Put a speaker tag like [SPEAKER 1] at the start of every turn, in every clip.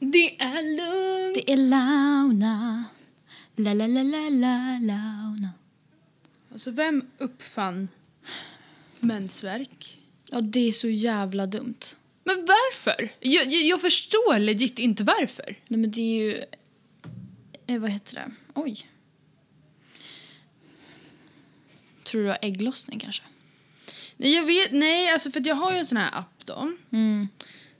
[SPEAKER 1] Det är lugnt.
[SPEAKER 2] Det är Launa. La, la, la, la, la, Launa.
[SPEAKER 1] Alltså, vem uppfann mensvärk?
[SPEAKER 2] Ja, det är så jävla dumt.
[SPEAKER 1] Men varför? Jag, jag, jag förstår legit inte varför.
[SPEAKER 2] Nej, men det är ju... Eh, vad heter det? Oj. Tror du har ägglossning kanske?
[SPEAKER 1] Nej, jag vet, nej alltså för att jag har ju en sån här app då.
[SPEAKER 2] Mm.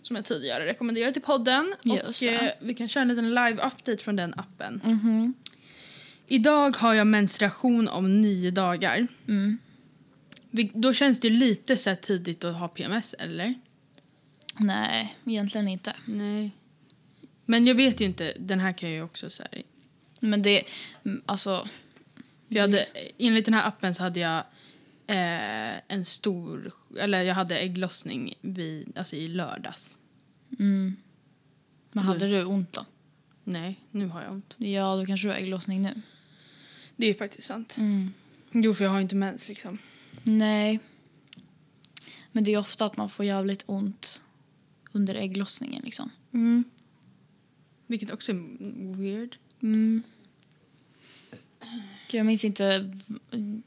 [SPEAKER 1] Som jag tidigare rekommenderat till podden.
[SPEAKER 2] Just
[SPEAKER 1] och
[SPEAKER 2] det.
[SPEAKER 1] eh, vi kan köra en liten live-update från den appen.
[SPEAKER 2] mhm.
[SPEAKER 1] Idag har jag menstruation om nio dagar.
[SPEAKER 2] Mm.
[SPEAKER 1] Vi- Då känns det ju lite så här tidigt att ha PMS, eller?
[SPEAKER 2] Nej, egentligen inte.
[SPEAKER 1] Nej. Men jag vet ju inte, den här kan jag ju också så här.
[SPEAKER 2] Men det... mm, Alltså...
[SPEAKER 1] För jag hade, enligt den här appen så hade jag eh, en stor, eller jag hade ägglossning vid, alltså i lördags.
[SPEAKER 2] Mm. Men
[SPEAKER 1] Du-
[SPEAKER 2] hade du ont då?
[SPEAKER 1] Nej, nu har jag ont.
[SPEAKER 2] Ja, då kanske du har ägglossning nu.
[SPEAKER 1] Det är faktiskt sant.
[SPEAKER 2] Mm.
[SPEAKER 1] Jo, för jag har ju inte mens liksom.
[SPEAKER 2] Nej. Men det är ofta att man får jävligt ont under ägglossningen liksom.
[SPEAKER 1] Mm. Vilket också är weird.
[SPEAKER 2] Mm. Gud, jag minns inte.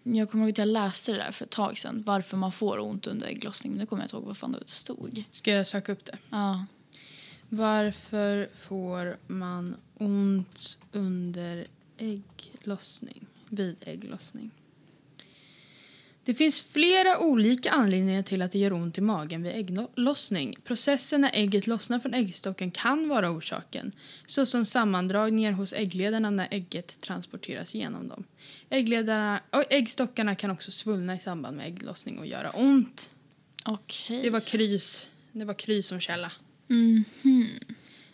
[SPEAKER 2] Jag kommer ihåg att jag läste det där för ett tag sedan. Varför man får ont under ägglossning. Men nu kommer jag inte ihåg vad fan det stod.
[SPEAKER 1] Ska jag söka upp det?
[SPEAKER 2] Ja.
[SPEAKER 1] Varför får man ont under ägglossning? Vid ägglossning? Det finns flera olika anledningar till att det gör ont i magen vid ägglossning. Processen när ägget lossnar från äggstocken kan vara orsaken, såsom sammandragningar hos äggledarna när ägget transporteras genom dem. Äggledarna, och äggstockarna kan också svullna i samband med ägglossning och göra ont.
[SPEAKER 2] Okej.
[SPEAKER 1] Det var krys, det var krys som källa.
[SPEAKER 2] Mhm.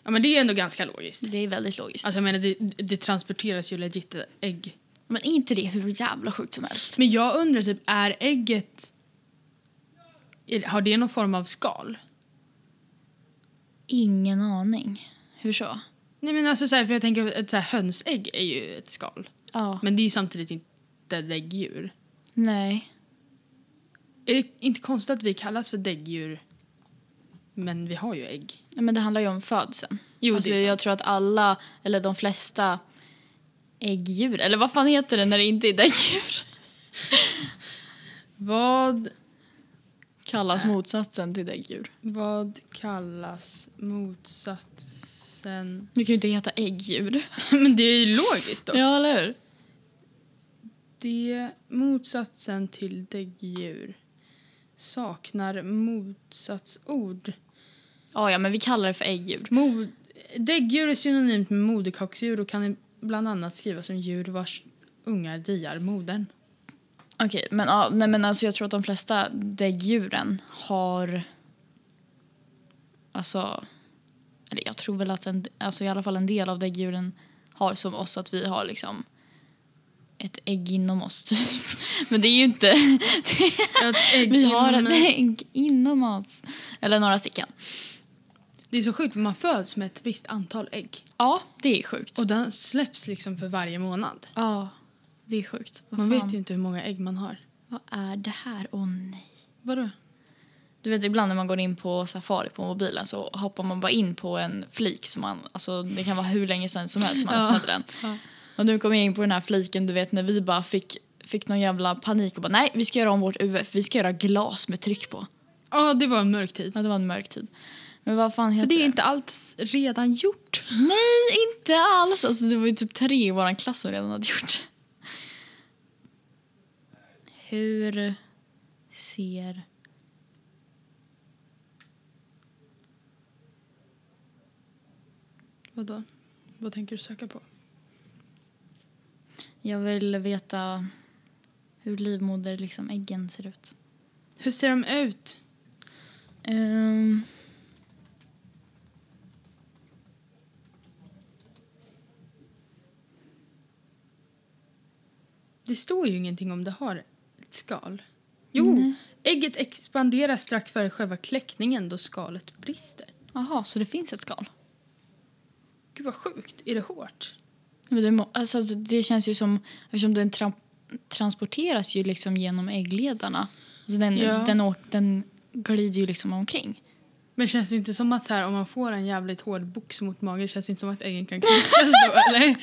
[SPEAKER 1] Ja, men det är ändå ganska logiskt.
[SPEAKER 2] Det är väldigt logiskt.
[SPEAKER 1] Alltså jag menar, det, det transporteras ju legit ägg.
[SPEAKER 2] men är inte det hur jävla sjukt som helst?
[SPEAKER 1] Men jag undrar typ, är ägget... är- Har det någon form av skal?
[SPEAKER 2] Ingen aning. Hur så?
[SPEAKER 1] Nej men alltså så här, för jag tänker att ett så här, hönsägg är ju ett skal.
[SPEAKER 2] Ja.
[SPEAKER 1] Men det är ju samtidigt inte däggdjur.
[SPEAKER 2] Nej.
[SPEAKER 1] Är det inte konstigt att vi kallas för däggdjur men vi har ju ägg?
[SPEAKER 2] Nej, Men det handlar ju om födseln.
[SPEAKER 1] Jo,
[SPEAKER 2] alltså,
[SPEAKER 1] det är
[SPEAKER 2] jag
[SPEAKER 1] sant.
[SPEAKER 2] tror att alla, eller de flesta äggdjur, eller vad fan heter det när det inte är däggdjur?
[SPEAKER 1] Vad,
[SPEAKER 2] Kallas motsatsen till däggdjur.
[SPEAKER 1] vad kallas motsatsen?
[SPEAKER 2] Det kan ju inte heta äggdjur.
[SPEAKER 1] men det är ju logiskt dock.
[SPEAKER 2] Ja, eller hur?
[SPEAKER 1] Det är motsatsen till däggdjur saknar motsatsord.
[SPEAKER 2] Ja, ja, men vi kallar det för äggdjur.
[SPEAKER 1] Mod däggdjur är synonymt med moderkaksdjur och kan bland annat skrivas som djur vars ungar diar modern.
[SPEAKER 2] Okej, men, ja, nej, men alltså, jag tror att de flesta däggdjuren har... Alltså... Eller jag tror väl att en, alltså, i alla fall en del av däggdjuren har som oss att vi har liksom ett ägg inom oss. typ. men det är ju inte...
[SPEAKER 1] Ett ägg
[SPEAKER 2] vi har ett
[SPEAKER 1] inom-
[SPEAKER 2] ägg inom oss. Eller några stycken.
[SPEAKER 1] Det är så sjukt, man föds med ett visst antal ägg
[SPEAKER 2] Ja, det är sjukt.
[SPEAKER 1] och den släpps liksom för varje månad.
[SPEAKER 2] Ja, det är sjukt. Vad
[SPEAKER 1] Man
[SPEAKER 2] fan?
[SPEAKER 1] vet ju inte hur många ägg man har.
[SPEAKER 2] Vad är det här? Åh nej.
[SPEAKER 1] Vadå?
[SPEAKER 2] Du vet ibland när man går in på Safari på mobilen så hoppar man bara in på en flik som man, alltså det kan vara hur länge sedan som helst man
[SPEAKER 1] Ja.
[SPEAKER 2] öppnade den.
[SPEAKER 1] Ja.
[SPEAKER 2] Och nu kom jag in på den här fliken, du vet när vi bara fick, fick någon jävla panik och bara nej vi ska göra om vårt UF, vi ska göra glas med tryck på.
[SPEAKER 1] Ja, det var en mörk tid.
[SPEAKER 2] Ja det var en mörk tid. Men vad fan
[SPEAKER 1] För
[SPEAKER 2] heter
[SPEAKER 1] det är inte alls redan gjort.
[SPEAKER 2] Nej inte alls! Alltså det var ju typ tre i våran klass som redan hade gjort det. Hur ser
[SPEAKER 1] Vadå? Vad tänker du söka på?
[SPEAKER 2] Jag vill veta hur livmoder, liksom äggen ser ut.
[SPEAKER 1] Hur ser de ut?
[SPEAKER 2] Ehm.
[SPEAKER 1] Det står ju ingenting om det har ett skal. Jo, ägget expanderar strax före själva kläckningen då skalet brister.
[SPEAKER 2] Jaha, så det finns ett skal?
[SPEAKER 1] Gud vad sjukt, är det hårt?
[SPEAKER 2] Men det, må- alltså, det känns ju som, eftersom den tra- transporteras ju liksom genom äggledarna. Alltså den,
[SPEAKER 1] Ja.
[SPEAKER 2] den, åk- den glider ju liksom omkring.
[SPEAKER 1] Men känns det inte som att så här, om man får en jävligt hård box mot magen känns det inte som att äggen kan knäckas då? Eller?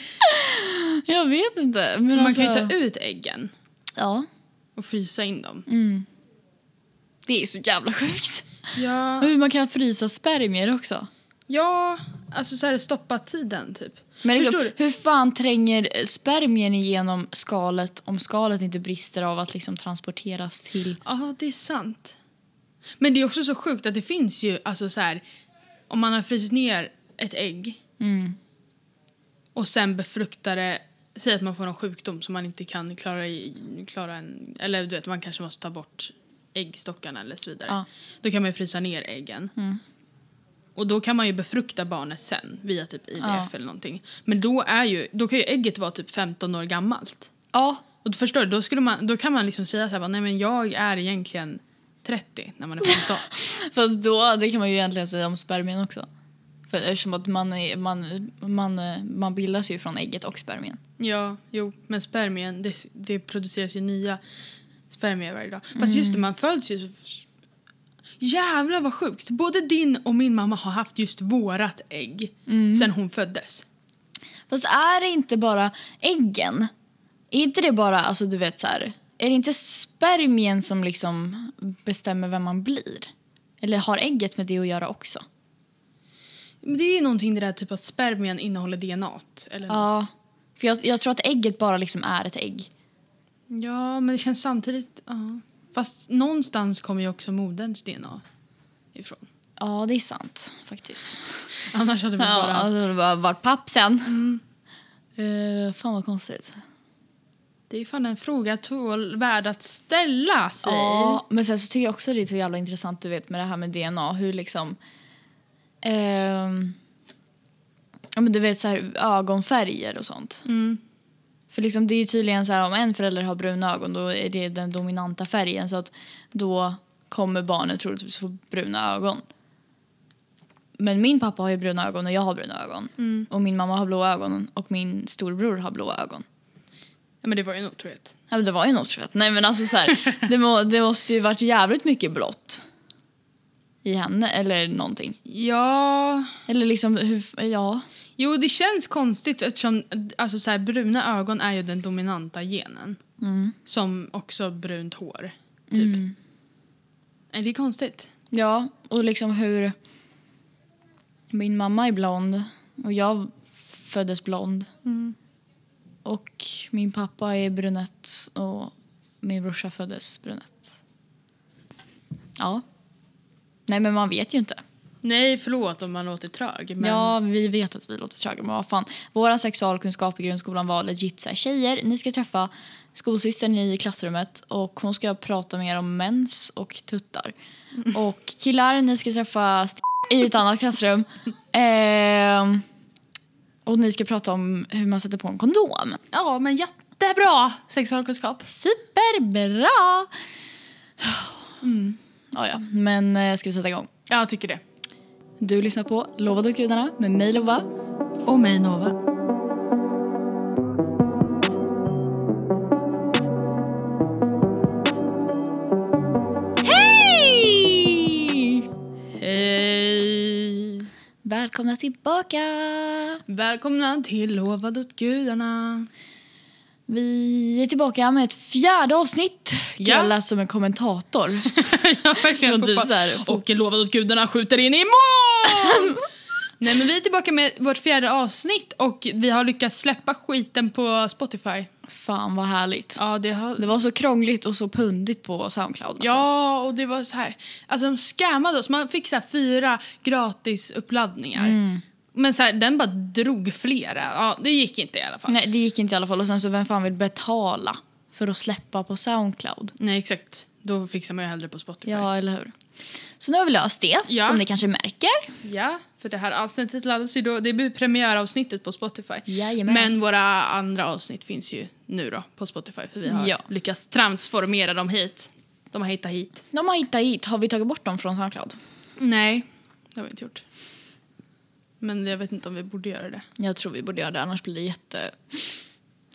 [SPEAKER 2] Jag vet inte.
[SPEAKER 1] För
[SPEAKER 2] Men
[SPEAKER 1] man
[SPEAKER 2] alltså,
[SPEAKER 1] kan ju ta ut äggen
[SPEAKER 2] Ja.
[SPEAKER 1] och frysa in dem.
[SPEAKER 2] Mm. Det är så jävla sjukt.
[SPEAKER 1] Ja,
[SPEAKER 2] Hur man kan frysa spermier också.
[SPEAKER 1] ja alltså så här stoppa tiden typ.
[SPEAKER 2] Men
[SPEAKER 1] Förstår
[SPEAKER 2] liksom,
[SPEAKER 1] du?
[SPEAKER 2] hur fan tränger eh, spermien igenom skalet om skalet inte brister av att liksom transporteras till...
[SPEAKER 1] Ja, det är sant. Men det är också så sjukt att det finns ju, alltså så här, om man har frysit ner ett ägg
[SPEAKER 2] Mm.
[SPEAKER 1] och sen befruktar det, säg att man får någon sjukdom som man inte kan klara, i, klara en, eller du vet, man kanske måste ta bort äggstockarna eller så vidare.
[SPEAKER 2] Ja.
[SPEAKER 1] Då kan man ju frysa ner äggen.
[SPEAKER 2] Mm.
[SPEAKER 1] Och då kan man ju befrukta barnet sen via typ IVF
[SPEAKER 2] Ja.
[SPEAKER 1] eller någonting. Men då är ju, då kan ju ägget vara typ 15 år gammalt.
[SPEAKER 2] Ja,
[SPEAKER 1] Och då förstår du, då, skulle man, då kan man liksom säga så här, bara, nej men jag är egentligen 30 när man är 15.
[SPEAKER 2] fast då det kan man ju egentligen säga om spermien också. För eftersom att man, är, man, man, eh, man bildas ju från ägget och spermien.
[SPEAKER 1] ja, jo, men spermien, det, det produceras ju nya spermier varje dag. Fast just det,
[SPEAKER 2] Mm.
[SPEAKER 1] man föds ju så... Jävlar vad sjukt! Både din och min mamma har haft just vårat ägg
[SPEAKER 2] Mm.
[SPEAKER 1] sen hon föddes.
[SPEAKER 2] Fast är det inte bara äggen? Är inte det bara, alltså du vet så här, är det inte spermien som liksom bestämmer vem man blir? Eller har ägget med det att göra också?
[SPEAKER 1] Men det är ju någonting det där typ att spermien innehåller DNA. Eller
[SPEAKER 2] Ja. För jag, jag tror att ägget bara liksom är ett ägg.
[SPEAKER 1] Ja, men det känns samtidigt... Ja. Fast någonstans kommer ju också moderns DNA ifrån.
[SPEAKER 2] Ja, det är sant faktiskt.
[SPEAKER 1] Annars hade vi
[SPEAKER 2] Ja,
[SPEAKER 1] bara... haft-
[SPEAKER 2] alltså, det bara Mm. varit papp sen. Eh, fan vad konstigt.
[SPEAKER 1] Det är fan en fråga tål värd att ställa sig.
[SPEAKER 2] Ja, men sen så tycker jag också det är så jävla intressant du vet med det här med DNA. Hur liksom... ehm, ja, men du vet så här ögonfärger och sånt.
[SPEAKER 1] Mm.
[SPEAKER 2] För liksom det är ju tydligen så här om en förälder har bruna ögon då är det den dominanta färgen så att då kommer barnet troligtvis få bruna ögon. Men min pappa har ju bruna ögon och jag har bruna ögon.
[SPEAKER 1] Mm.
[SPEAKER 2] Och min mamma har blå ögon och min storbror har blå ögon.
[SPEAKER 1] Ja, men det var ju en otrohet.
[SPEAKER 2] Ja, men det var ju något för att, nej men alltså så här, det, må, det måste ju varit jävligt mycket blått. I henne eller någonting.
[SPEAKER 1] Ja...
[SPEAKER 2] Eller liksom hur, ja.
[SPEAKER 1] Jo, det känns konstigt eftersom alltså, så här, bruna ögon är ju den dominanta genen.
[SPEAKER 2] Mm.
[SPEAKER 1] Som också brunt hår.
[SPEAKER 2] Typ.
[SPEAKER 1] Mm. Är det är konstigt?
[SPEAKER 2] Ja, och liksom hur... Min mamma är blond och jag föddes blond. Och min pappa är brunett och min brorsa föddes brunett. Ja. Nej men man vet ju inte.
[SPEAKER 1] Nej, förlåt om man låter trög. Men...
[SPEAKER 2] Ja, vi vet att vi låter tröga, men vad fan. Våra sexualkunskap i grundskolan var legit så här, tjejer, ni ska träffa skolsystern i klassrummet och hon ska prata med er om mens och tuttar. Och killar, ni ska träffa st- i ett annat klassrum. Ehm, och ni ska prata om hur man sätter på en kondom.
[SPEAKER 1] ja, men jättebra sexualkunskap.
[SPEAKER 2] Superbra! Ja, ja, men eh, ska vi sätta igång?
[SPEAKER 1] Ja, jag tycker det.
[SPEAKER 2] Du lyssnar på Lovad och gudarna med mig Lova.
[SPEAKER 1] Och mig, Nova.
[SPEAKER 2] Hej!
[SPEAKER 1] Hej!
[SPEAKER 2] Välkomna tillbaka!
[SPEAKER 1] Välkomna till Lovad åt gudarna.
[SPEAKER 2] Vi är tillbaka med ett fjärde avsnitt.
[SPEAKER 1] Ja.
[SPEAKER 2] Jag lät som en kommentator.
[SPEAKER 1] jag har verkligen
[SPEAKER 2] Någon typ
[SPEAKER 1] fotboll.
[SPEAKER 2] så här-
[SPEAKER 1] Och Lovad åt gudarna skjuter in i mål! Nej, men vi är tillbaka med vårt fjärde avsnitt och vi har lyckats släppa skiten på Spotify.
[SPEAKER 2] Fan vad härligt.
[SPEAKER 1] Ja, det har...
[SPEAKER 2] Det var så krångligt och så pundigt på Soundcloud. Alltså.
[SPEAKER 1] Ja, och det var så här. Alltså de scammade oss. Man fick så här fyra gratis uppladdningar. Men så här, den bara drog flera. Ja, det gick inte i alla fall. Nej,
[SPEAKER 2] Nej, det gick inte i alla fall. Och sen så vem fan vill betala för att släppa på Soundcloud?
[SPEAKER 1] exakt. Då fixar man ju hellre på Spotify.
[SPEAKER 2] Ja, eller hur? Så nu har vi löst det,
[SPEAKER 1] Ja.
[SPEAKER 2] som ni kanske märker.
[SPEAKER 1] Ja, för det här avsnittet laddas ju då. Det blir premiäravsnittet på Spotify.
[SPEAKER 2] Jajamän.
[SPEAKER 1] Men våra andra avsnitt finns ju nu då på Spotify för vi har
[SPEAKER 2] Ja.
[SPEAKER 1] lyckats transformera dem hit. De har hittat hit.
[SPEAKER 2] De har hittat hit. Har vi tagit bort dem från Soundcloud?
[SPEAKER 1] Nej, det har vi inte gjort. Men jag vet inte om vi borde göra det.
[SPEAKER 2] Jag tror vi borde göra det, annars blir det jätte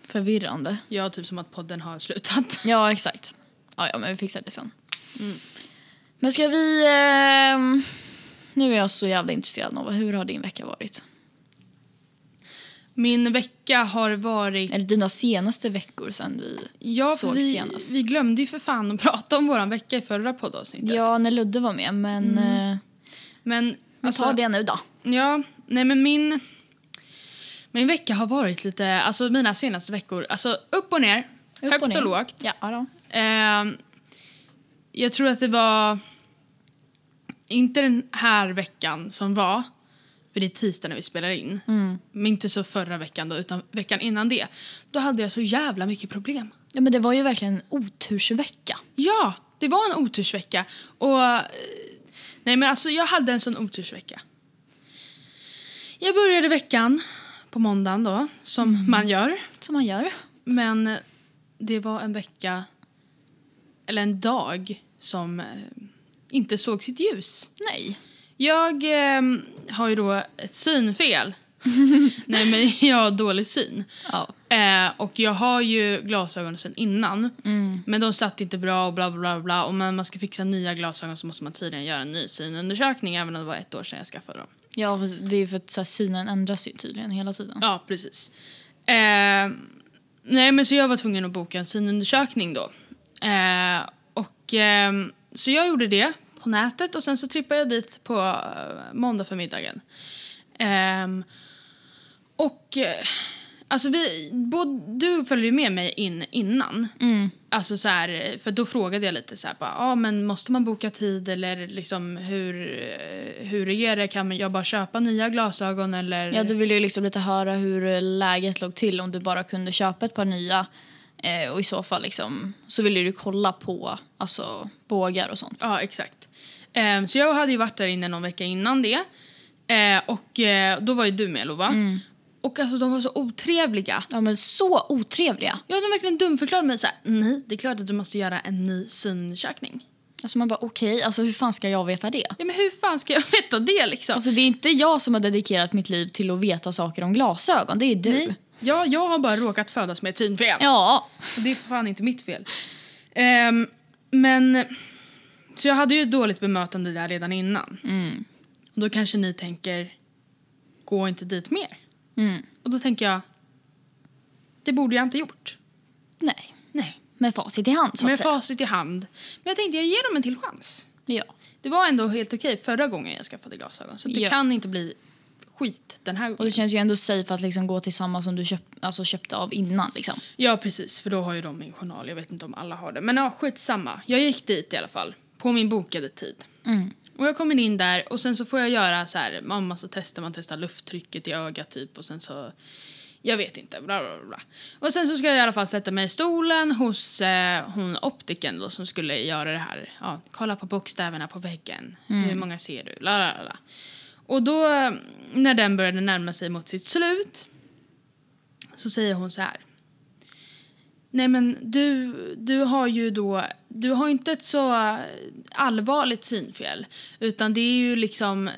[SPEAKER 2] förvirrande.
[SPEAKER 1] Ja, typ som att podden har slutat.
[SPEAKER 2] Ja, exakt. Mm. Ja, ja men vi fixar det sen. Men ska vi... ehm, Nu är jag så jävla intresserad Nova. Hur har din vecka varit?
[SPEAKER 1] Min vecka har varit...
[SPEAKER 2] Eller dina senaste veckor sen vi...
[SPEAKER 1] Ja, för
[SPEAKER 2] såg
[SPEAKER 1] vi,
[SPEAKER 2] senast.
[SPEAKER 1] vi glömde ju för fan att prata om vår vecka i förra poddavsnittet.
[SPEAKER 2] Ja, när Ludde var med. Men eh,
[SPEAKER 1] Men,
[SPEAKER 2] vi
[SPEAKER 1] alltså,
[SPEAKER 2] tar det nu då.
[SPEAKER 1] Ja, nej men min... Min vecka har varit lite... Alltså mina senaste veckor. Alltså upp och ner.
[SPEAKER 2] Upp
[SPEAKER 1] högt och,
[SPEAKER 2] ner.
[SPEAKER 1] lågt.
[SPEAKER 2] Ja, då.
[SPEAKER 1] Ehm, jag tror att det var... Inte den här veckan som var, för det är tisdag när vi spelar in.
[SPEAKER 2] Mm.
[SPEAKER 1] Men inte så förra veckan då, utan veckan innan det. Då hade jag så jävla mycket problem.
[SPEAKER 2] Ja, men det var ju verkligen en otursvecka.
[SPEAKER 1] Ja, det var en otursvecka. Och, eh, nej men alltså jag hade en sån otursvecka. Jag började veckan på måndagen då, som man gör.
[SPEAKER 2] Som man gör.
[SPEAKER 1] Men eh, det var en vecka, eller en dag, som eh, inte såg sitt ljus.
[SPEAKER 2] Nej.
[SPEAKER 1] Jag eh, har ju då ett synfel. Nej men jag har dålig syn.
[SPEAKER 2] Ja.
[SPEAKER 1] Eh, och jag har ju glasögon sen innan.
[SPEAKER 2] Mm.
[SPEAKER 1] Men de satt inte bra och bla bla bla, bla. Och när man ska fixa nya glasögon så måste man tydligen göra en ny synundersökning även om det var ett år sedan jag skaffade dem.
[SPEAKER 2] Ja, fast det är ju för att så här, synen ändras ju tydligen hela tiden.
[SPEAKER 1] Ja, precis. Eh, nej, men så jag var tvungen att boka en synundersökning då. Eh, och, ehm, så jag gjorde det på nätet och sen så trippade jag dit på eh, måndag förmiddagen. Ehm, och eh, alltså vi, både, du följde ju med mig in innan.
[SPEAKER 2] Mm.
[SPEAKER 1] Alltså så här, för då frågade jag lite så här, bara, ah, men måste man boka tid eller liksom hur, eh, hur är det, kan jag bara köpa nya glasögon eller?
[SPEAKER 2] Ja, du ville ju liksom lite höra hur läget låg till om du bara kunde köpa ett par nya. Eh, och i så fall liksom, så ville du kolla på alltså, bågar och sånt.
[SPEAKER 1] Ja, exakt. Ehm, så jag hade ju varit där inne någon vecka innan det. Eh, och eh, då var ju du med Lova.
[SPEAKER 2] Mm.
[SPEAKER 1] Och alltså de var så otrevliga.
[SPEAKER 2] Ja, men så otrevliga.
[SPEAKER 1] Jag hade verkligen dumförklarat mig så här. nej det är klart att du måste göra en ny synundersökning.
[SPEAKER 2] Alltså man bara okej, alltså hur fan ska jag veta det?
[SPEAKER 1] Ja men hur fan ska jag veta det liksom?
[SPEAKER 2] Alltså det är inte jag som har dedikerat mitt liv till att veta saker om glasögon, det är du.
[SPEAKER 1] Nej. Ja, jag har bara råkat födas med ett synfel.
[SPEAKER 2] Ja.
[SPEAKER 1] Och det är för fan inte mitt fel. Ehm, men... Så jag hade ju ett dåligt bemötande där redan innan.
[SPEAKER 2] Mm.
[SPEAKER 1] Och då kanske ni tänker, gå inte dit mer.
[SPEAKER 2] Mm.
[SPEAKER 1] Och då tänker jag, det borde jag inte gjort.
[SPEAKER 2] Nej.
[SPEAKER 1] Nej.
[SPEAKER 2] Med facit i hand så att
[SPEAKER 1] Med
[SPEAKER 2] säga.
[SPEAKER 1] facit i hand. Men jag tänkte jag ger dem en till chans.
[SPEAKER 2] Ja.
[SPEAKER 1] Det var ändå helt okej förra gången jag skaffade glasögon. Så det
[SPEAKER 2] Ja.
[SPEAKER 1] kan inte bli skit den här
[SPEAKER 2] Och
[SPEAKER 1] gången.
[SPEAKER 2] det känns ju ändå safe att liksom gå till samma som du köp, alltså köpte av innan. Liksom.
[SPEAKER 1] Ja precis, för då har ju de min journal. Jag vet inte om alla har det. Men ja, skitsamma. Jag gick dit i alla fall. På min bokade tid.
[SPEAKER 2] Mm.
[SPEAKER 1] Och jag kommer in där och sen så får jag göra så här, man massa tester, man testar lufttrycket i ögat typ och sen så, jag vet inte, bla bla bla. Och sen så ska jag i alla fall sätta mig i stolen hos eh, hon optiken då som skulle göra det här, ja, kolla på bokstäverna på väggen, hur många ser du, la la la, la. Och då, eh, när den började närma sig mot sitt slut, så säger hon så här. Nej men du, du har ju då, du har inte ett så allvarligt synfel utan det är ju liksom,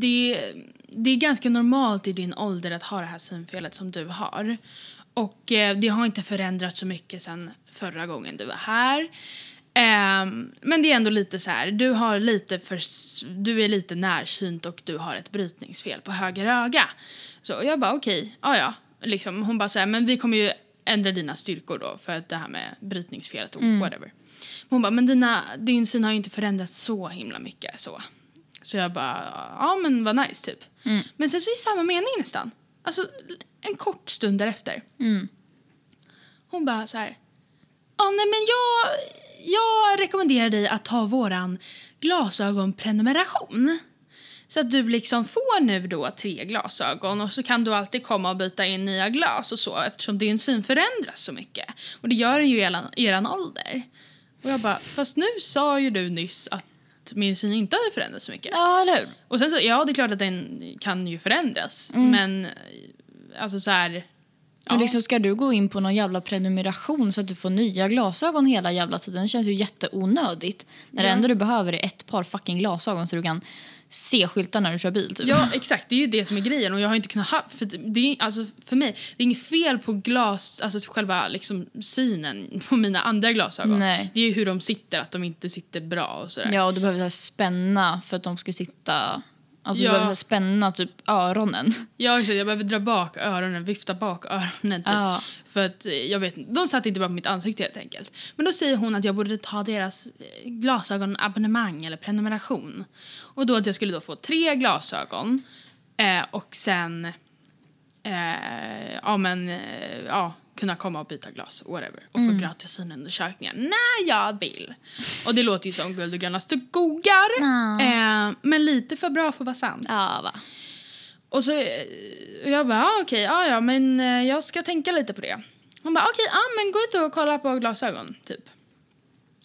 [SPEAKER 1] det, det är ganska normalt i din ålder att ha det här synfelet som du har. Och eh, det har inte förändrats så mycket sen förra gången du var här. Ehm, men det är ändå lite så här, du, har lite för, s- du är lite närsynt och du har ett brytningsfel på höger öga. Så jag bara okej, ja ja. Liksom, hon bara så här, men vi kommer ju ändra dina styrkor då för att det här med brytningsfelet och whatever. Hon bara, men dina, din syn har ju inte förändrats så himla mycket så. Så jag bara, ja men vad nice typ. Men sen så i samma mening nästan, alltså en kort stund därefter.
[SPEAKER 2] Mm.
[SPEAKER 1] Hon bara så här. Ja, nej men jag, jag rekommenderar dig att ta våran glasögonprenumeration. Så att du liksom får nu då tre glasögon och så kan du alltid komma och byta in nya glas och så eftersom din syn förändras så mycket. Och det gör den ju i eran, i eran ålder. Och jag bara, fast nu sa ju du nyss att min syn inte hade förändrats så mycket.
[SPEAKER 2] Ja, eller hur?
[SPEAKER 1] Och sen så, ja det är klart att den kan ju förändras men alltså så här.
[SPEAKER 2] Men liksom, ska du gå in på någon jävla prenumeration så att du får nya glasögon hela jävla tiden? Det känns ju jätteonödigt. När det
[SPEAKER 1] Ja.
[SPEAKER 2] enda du behöver är ett par fucking glasögon så du kan se skyltar när du kör bil. Typ.
[SPEAKER 1] Ja, exakt. Det är ju det som är grejen. Och jag har inte kunnat ha... För, det är, alltså, för mig, det är inget fel på glas, alltså själva liksom, synen på mina andra glasögon.
[SPEAKER 2] Nej.
[SPEAKER 1] Det är ju hur de sitter, att de inte sitter bra och sådär.
[SPEAKER 2] Ja, och du behöver så här spänna för att de ska sitta Alltså
[SPEAKER 1] Ja.
[SPEAKER 2] du behöver så här spänna typ öronen.
[SPEAKER 1] Ja, exakt, jag behöver dra bak öronen, vifta bak öronen. Typ.
[SPEAKER 2] Ja.
[SPEAKER 1] För att eh, jag vet inte, de satt inte bara på mitt ansikte helt enkelt. Men då säger hon att jag borde ta deras eh, glasögonabonnemang eller prenumeration. Och då att jag skulle då få tre glasögon eh, och sen eh, ja men eh, ja kunna komma och byta glas whatever och få
[SPEAKER 2] Mm.
[SPEAKER 1] gratis synundersökningar när jag vill. Och det låter ju som guld och gröna skogar.
[SPEAKER 2] Ja.
[SPEAKER 1] Eh, men lite för bra för att vara sant.
[SPEAKER 2] Ja, va.
[SPEAKER 1] Och så eh, och jag bara, ah, okej, ja ja, men eh, jag ska tänka lite på det. Hon bara, okej, ja men gå ut och kolla på glasögon, typ.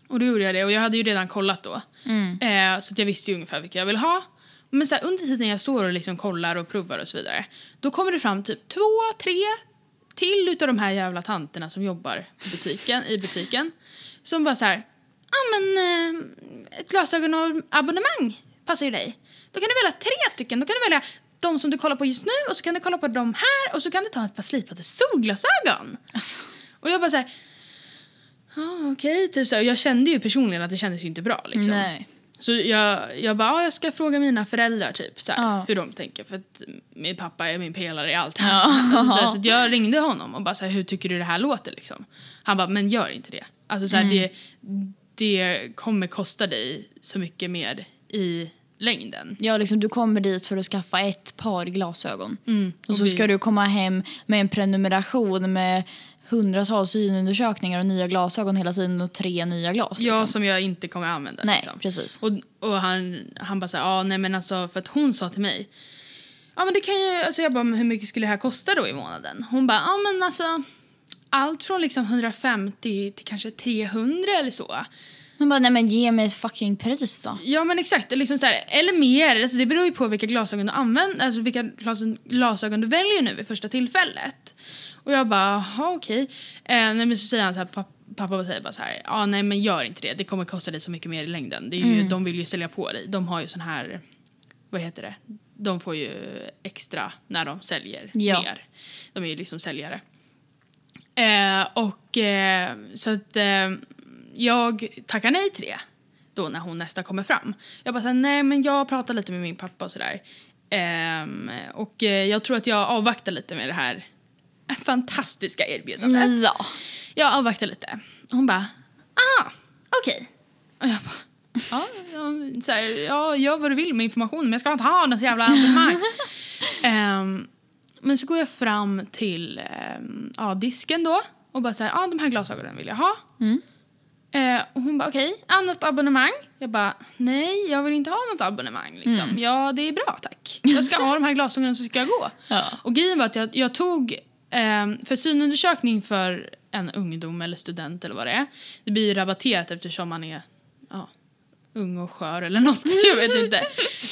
[SPEAKER 1] Och då gjorde jag det och jag hade ju redan kollat då.
[SPEAKER 2] Mm.
[SPEAKER 1] Eh, så att jag visste ju ungefär vilka jag vill ha. Men så här, under tiden jag står och liksom kollar och provar och så vidare, då kommer det fram typ två, tre till utav de här jävla tanterna som jobbar i butiken, i butiken som bara så här, ja men eh, ett glasögonabonnemang passar ju dig. Då kan du välja tre stycken, då kan du välja de som du kollar på just nu och så kan du kolla på de här och så kan du ta ett par slipade solglasögon.
[SPEAKER 2] Alltså.
[SPEAKER 1] Och jag bara så här, ja okej, typ så här. Och jag kände ju personligen att det kändes ju inte bra liksom.
[SPEAKER 2] Nej.
[SPEAKER 1] Så jag, jag bara, ah, jag ska fråga mina föräldrar typ så här,
[SPEAKER 2] Ja.
[SPEAKER 1] hur de tänker för att min pappa är min pelare i allt.
[SPEAKER 2] Ja.
[SPEAKER 1] Alltså, så, här, så att jag ringde honom och bara så här, hur tycker du det här låter liksom? Han bara, men gör inte det. Alltså så här,
[SPEAKER 2] Mm.
[SPEAKER 1] det, det kommer kosta dig så mycket mer i längden.
[SPEAKER 2] Ja, liksom, du kommer dit för att skaffa ett par glasögon.
[SPEAKER 1] Mm.
[SPEAKER 2] Och så
[SPEAKER 1] vi-
[SPEAKER 2] ska du komma hem med en prenumeration med hundratals synundersökningar och nya glasögon hela tiden och tre nya glas.
[SPEAKER 1] Ja,
[SPEAKER 2] liksom.
[SPEAKER 1] som jag inte kommer använda
[SPEAKER 2] Nej,
[SPEAKER 1] liksom.
[SPEAKER 2] precis.
[SPEAKER 1] Och, och han, han bara såhär, ja nej men alltså för att hon sa till mig Ja men det kan ju, alltså jag bara men hur mycket skulle det här kosta då i månaden? Hon bara, ja men alltså allt från liksom 150 till kanske 300 eller så.
[SPEAKER 2] Hon bara, nej men ge mig ett fucking pris då.
[SPEAKER 1] Ja men exakt, liksom så här, eller mer, alltså det beror ju på vilka glasögon du använder, alltså vilka glasögon, glasögon du väljer nu vid första tillfället. Och jag bara, jaha okej. Eh, nej men så säger han så här, pappa, pappa säger bara så här, ja nej men gör inte det, det kommer kosta dig så mycket mer i längden. Det är ju, De vill ju sälja på dig, de har ju sån här, vad heter det, de får ju extra när de säljer
[SPEAKER 2] Ja.
[SPEAKER 1] mer. De är ju liksom säljare. Eh, och eh, så att eh, jag tackar nej till det då när hon nästa kommer fram. Jag bara såhär, nej men jag pratar lite med min pappa och sådär. Ehm, och eh, jag tror att jag avvaktar lite med det här fantastiska erbjudandet.
[SPEAKER 2] Ja.
[SPEAKER 1] Jag avvaktar lite. Hon bara, aha, okej. Och jag bara, ja, ja, så här, ja, gör vad du vill med informationen men jag ska inte ha något jävla abonnemang. Ehm, men så går jag fram till ehm, ja, disken då och bara säger, ja de här glasögonen vill jag ha.
[SPEAKER 2] Mm.
[SPEAKER 1] Eh, och hon bara, okej, okay, något abonnemang? Jag bara, nej, jag vill inte ha något abonnemang. Liksom. Ja, det är bra, tack. Jag ska ha de här glasögonen så ska jag gå.
[SPEAKER 2] Ja.
[SPEAKER 1] Och grejen var att jag, jag tog, ehm, för synundersökning för en ungdom eller student eller vad det är, det blir ju rabatterat eftersom man är ja, ung och skör eller något, jag vet inte.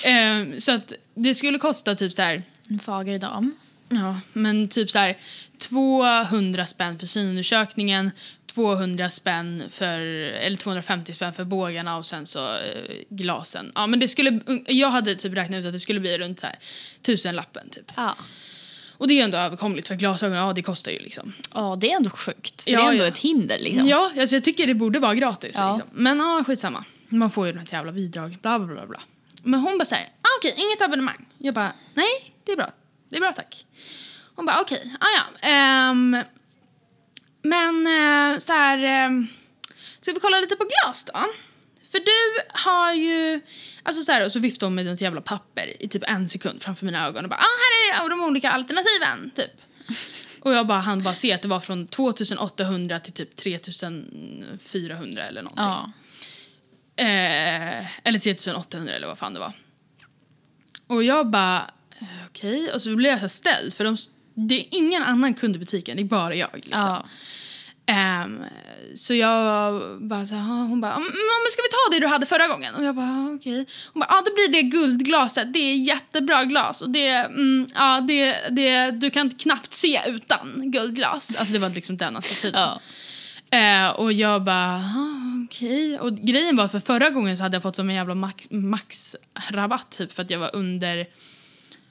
[SPEAKER 1] Ehm, så att det skulle kosta typ så här
[SPEAKER 2] En fager dam.
[SPEAKER 1] Ja, men typ så här 200 spänn för synundersökningen, 200 spänn för, eller 250 spänn för bågarna och sen så eh, glasen. Ja, men det skulle, jag hade typ räknat ut att det skulle bli runt så här tusenlappen typ.
[SPEAKER 2] Ja.
[SPEAKER 1] Och det är ju ändå överkomligt för glasögon, ja det kostar ju liksom.
[SPEAKER 2] Ja, det är ändå sjukt. För
[SPEAKER 1] Ja,
[SPEAKER 2] det är ändå
[SPEAKER 1] ja.
[SPEAKER 2] ett hinder liksom.
[SPEAKER 1] Ja, alltså jag tycker det borde vara gratis.
[SPEAKER 2] Ja.
[SPEAKER 1] Liksom. Men ja, skitsamma. Man får ju något jävla bidrag, bla bla bla. bla. Men hon bara säger, ah, okej, inget abonnemang. Jag bara, nej, det är bra. Det är bra tack. Hon bara, okej, ah, ja. ehm, men eh, så här, ehm, ska vi kolla lite på glas då? För du har ju, alltså så här, och så viftar hon med något jävla papper i typ en sekund framför mina ögon och bara, ah, här är de olika alternativen, typ. Och jag bara, han bara se att det var från 2800 till typ 3400 eller någonting.
[SPEAKER 2] Ja.
[SPEAKER 1] Eh, eller 3800 eller vad fan det var. Och jag bara, eh, okej. Och så blev jag så här ställd för de, det är ingen annan kund i butiken, det är bara jag. Liksom.
[SPEAKER 2] Ja.
[SPEAKER 1] Ehm, så jag bara så här, "Ah," hon bara, "Mm, ja, men ska vi ta det du hade förra gången? Och jag bara, "Ah, okej. Hon bara, ja det blir det guldglaset, det är jättebra glas och det, mm, ja det, det, du kan knappt se utan guldglas. Alltså det var liksom den attityden.
[SPEAKER 2] Ja.
[SPEAKER 1] Eh, och jag bara, "Ah, okej. Och grejen var för förra gången så hade jag fått som en jävla max, max rabatt typ för att jag var under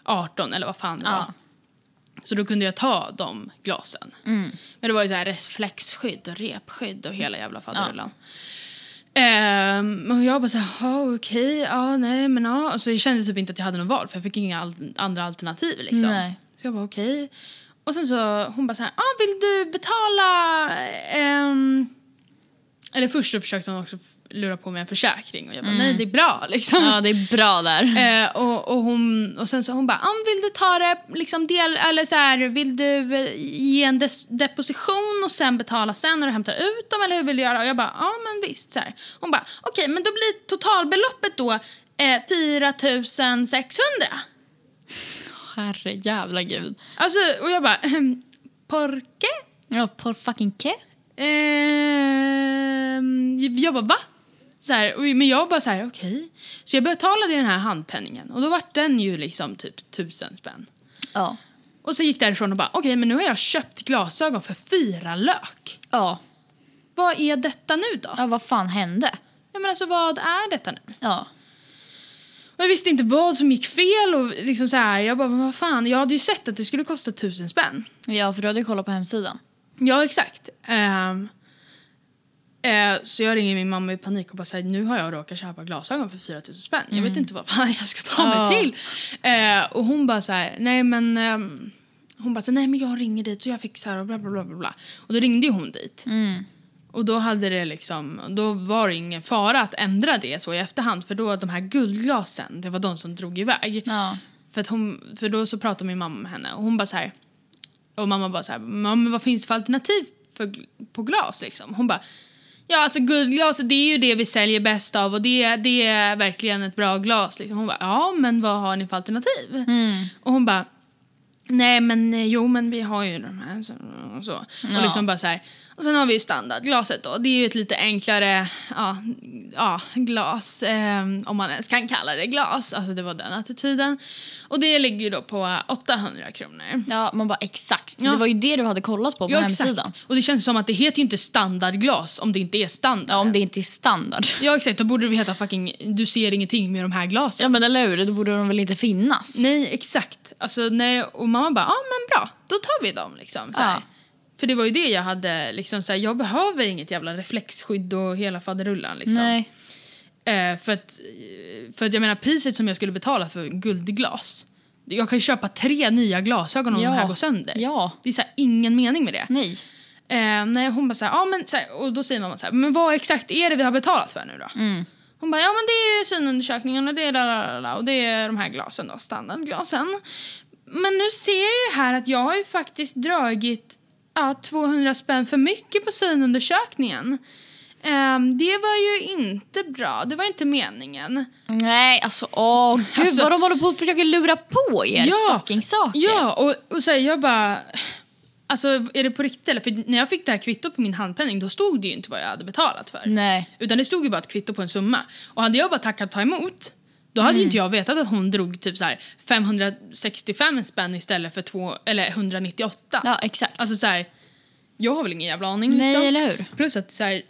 [SPEAKER 1] 18 eller vad fan det var.
[SPEAKER 2] Ja.
[SPEAKER 1] Så då kunde jag ta de glasen.
[SPEAKER 2] Mm.
[SPEAKER 1] Men det var ju så här reflexskydd och repskydd och hela jävla faderullan. Ehm, och jag bara så här, "Ja, okej, ja, nej, men ja. Och så jag kände typ inte att jag hade något val för jag fick inga al- andra alternativ liksom.
[SPEAKER 2] Nej.
[SPEAKER 1] Så jag bara okej. Och sen så hon bara så här, ah, vill du betala? ehm?" Eller först så försökte hon också f- lura på mig en försäkring och jag bara nej det är bra liksom.
[SPEAKER 2] Mm. Ja, det är bra där.
[SPEAKER 1] Eh, och, och, hon, och sen så hon bara, ah, vill du ta det liksom del, eller så här, vill du eh, ge en des- deposition och sen betala sen när du hämtar ut dem eller hur vill du göra? Och jag bara, ja ah, men visst. Så här. Hon bara, okej men då blir totalbeloppet då eh, 4600.
[SPEAKER 2] Herre jävla gud.
[SPEAKER 1] Alltså, och jag bara, ehm, porke?
[SPEAKER 2] Ja, por fucking ke.
[SPEAKER 1] Ehm, jag bara, va? Så här, och- men jag bara så här, okej. Så jag betalade ju den här handpenningen och då var den ju liksom typ tusen spänn.
[SPEAKER 2] Ja.
[SPEAKER 1] Och så gick därifrån och bara, okej men nu har jag köpt glasögon för fyra lök.
[SPEAKER 2] Ja.
[SPEAKER 1] Vad är detta nu då?
[SPEAKER 2] ja, vad fan hände?
[SPEAKER 1] Jag menar alltså vad är detta nu?
[SPEAKER 2] Ja.
[SPEAKER 1] Och jag visste inte vad som gick fel och liksom så här, jag bara, men vad fan, jag hade ju sett att det skulle kosta tusen spänn.
[SPEAKER 2] ja, för du hade ju kollat på hemsidan.
[SPEAKER 1] Ja exakt. Ehm, eh, så jag ringer min mamma i panik och bara säger nu har jag råkat köpa glasögon för 4000 spänn. Jag vet inte vad fan jag ska ta mig
[SPEAKER 2] Ja.
[SPEAKER 1] till. Eh, och hon bara så här, nej men ehm, hon bara så här, nej men jag ringer dit och jag fixar och bla bla bla bla, bla. Och då ringde ju hon dit.
[SPEAKER 2] Mm.
[SPEAKER 1] Och då hade det liksom, då var det ingen fara att ändra det så i efterhand för då de här guldglasen, det var de som drog iväg.
[SPEAKER 2] Ja.
[SPEAKER 1] För, att hon, för då så pratade min mamma med henne och hon bara så här. Och mamma bara så här, "Ja, men vad finns det för alternativ för, gl- på glas liksom? Hon bara, ja alltså guldglas det är ju det vi säljer bäst av och det, det är verkligen ett bra glas liksom. Hon bara, ja men vad har ni för alternativ?
[SPEAKER 2] Mm.
[SPEAKER 1] Och hon bara, nej men eh, jo men vi har ju de här så, och så.
[SPEAKER 2] Ja.
[SPEAKER 1] Och liksom bara så här. Och sen har vi ju standardglaset då. Det är ju ett lite enklare ja, ja, glas, eh, om man ens kan kalla det glas. Alltså det var den attityden. Och det ligger ju då på 800 kronor.
[SPEAKER 2] Ja, man bara exakt. Så
[SPEAKER 1] Ja.
[SPEAKER 2] Det var ju det du hade kollat på på hemsidan.
[SPEAKER 1] Och det känns som att det heter ju inte standardglas om det inte är standard.
[SPEAKER 2] Ja, om det inte är standard.
[SPEAKER 1] Ja exakt, då borde det heta fucking du ser ingenting med de här glasen.
[SPEAKER 2] Ja, men eller hur? Då borde de väl inte finnas?
[SPEAKER 1] Nej, exakt. Alltså, nej, och mamma bara, ja ah, men bra, då tar vi dem liksom. Så här.
[SPEAKER 2] Ja.
[SPEAKER 1] För det var ju det jag hade, liksom, så här, jag behöver inget jävla reflexskydd och hela faderullan. Liksom.
[SPEAKER 2] Nej.
[SPEAKER 1] Eh, för, att, för att jag menar priset som jag skulle betala för guldglas, jag kan ju köpa tre nya glasögon om
[SPEAKER 2] Ja.
[SPEAKER 1] de här går sönder.
[SPEAKER 2] Ja.
[SPEAKER 1] Det är så här, ingen mening med det.
[SPEAKER 2] Nej.
[SPEAKER 1] Eh, nej, hon bara så här, ja men, så här, och då säger mamma så här, men vad exakt är det vi har betalat för nu då?
[SPEAKER 2] Mm.
[SPEAKER 1] Hon bara, ja men det är synundersökningen och det är la, la, la, la, och det är de här glasen då, standardglasen. Men nu ser jag ju här att jag har ju faktiskt dragit ja, 200 spänn för mycket på synundersökningen. Ehm, det var ju inte bra, det var inte meningen.
[SPEAKER 2] Nej, alltså åh gud
[SPEAKER 1] Alltså-
[SPEAKER 2] vad de håller på och försöker lura på er
[SPEAKER 1] Ja.
[SPEAKER 2] fucking saker.
[SPEAKER 1] Ja, och, och så här, jag bara... Alltså är det på riktigt eller? För när jag fick det här kvittot på min handpenning då stod det ju inte vad jag hade betalat för.
[SPEAKER 2] Nej.
[SPEAKER 1] Utan det stod ju bara ett kvitto på en summa. Och hade jag bara tackat ta emot, då hade
[SPEAKER 2] Mm.
[SPEAKER 1] ju inte jag vetat att hon drog typ så här 565 spänn istället för två, eller 198.
[SPEAKER 2] Ja, exakt. Mm,
[SPEAKER 1] Alltså så här, jag har väl ingen jävla aning
[SPEAKER 2] Nej,
[SPEAKER 1] liksom.
[SPEAKER 2] eller hur?
[SPEAKER 1] Plus att så här,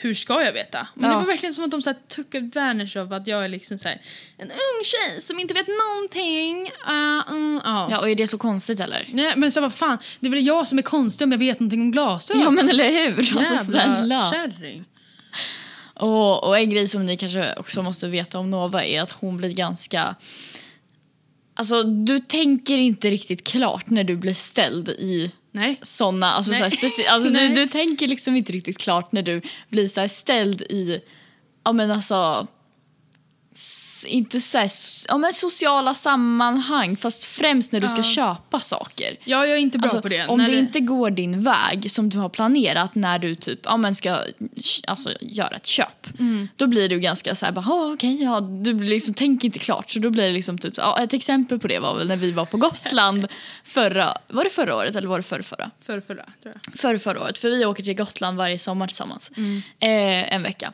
[SPEAKER 1] hur ska jag veta? Men
[SPEAKER 2] Ja.
[SPEAKER 1] det var verkligen som att de så här took advantage av att jag är liksom så här, en ung tjej som inte vet någonting. Uh, mm, ja.
[SPEAKER 2] Ja, och är det så konstigt eller?
[SPEAKER 1] Nej, men så här, vad fan, det är väl jag som är konstig om jag vet någonting om glasögon.
[SPEAKER 2] Ja, men eller hur? Alltså
[SPEAKER 1] Jävla
[SPEAKER 2] snälla.
[SPEAKER 1] kärring.
[SPEAKER 2] Och, och en grej som ni kanske också måste veta om Nova är att hon blir ganska... Alltså, du tänker inte riktigt klart när du blir ställd i
[SPEAKER 1] Nej.
[SPEAKER 2] såna, alltså,
[SPEAKER 1] Nej.
[SPEAKER 2] så här, speci- alltså du,
[SPEAKER 1] Nej.
[SPEAKER 2] du tänker liksom inte riktigt klart när du blir så här ställd i, ja men alltså, s- inte så här, s- ja men sociala sammanhang fast främst när du ska
[SPEAKER 1] Ja.
[SPEAKER 2] köpa saker.
[SPEAKER 1] Ja, jag är inte bra
[SPEAKER 2] Alltså,
[SPEAKER 1] på det.
[SPEAKER 2] om
[SPEAKER 1] När
[SPEAKER 2] det inte går din väg som du har planerat när du typ, ja, men ska alltså, göra ett köp
[SPEAKER 1] Mm.
[SPEAKER 2] då blir du ganska så här, bara, "Ah, okej, ja, du blir liksom, tänker inte klart. Så då blir det liksom typ, ja, ett exempel på det var väl när vi var på Gotland förra, var det förra året eller var det förra, förra?
[SPEAKER 1] Förra, förra, tror jag.
[SPEAKER 2] förra, förra året. För vi åker till Gotland varje sommar tillsammans. Eh, en vecka.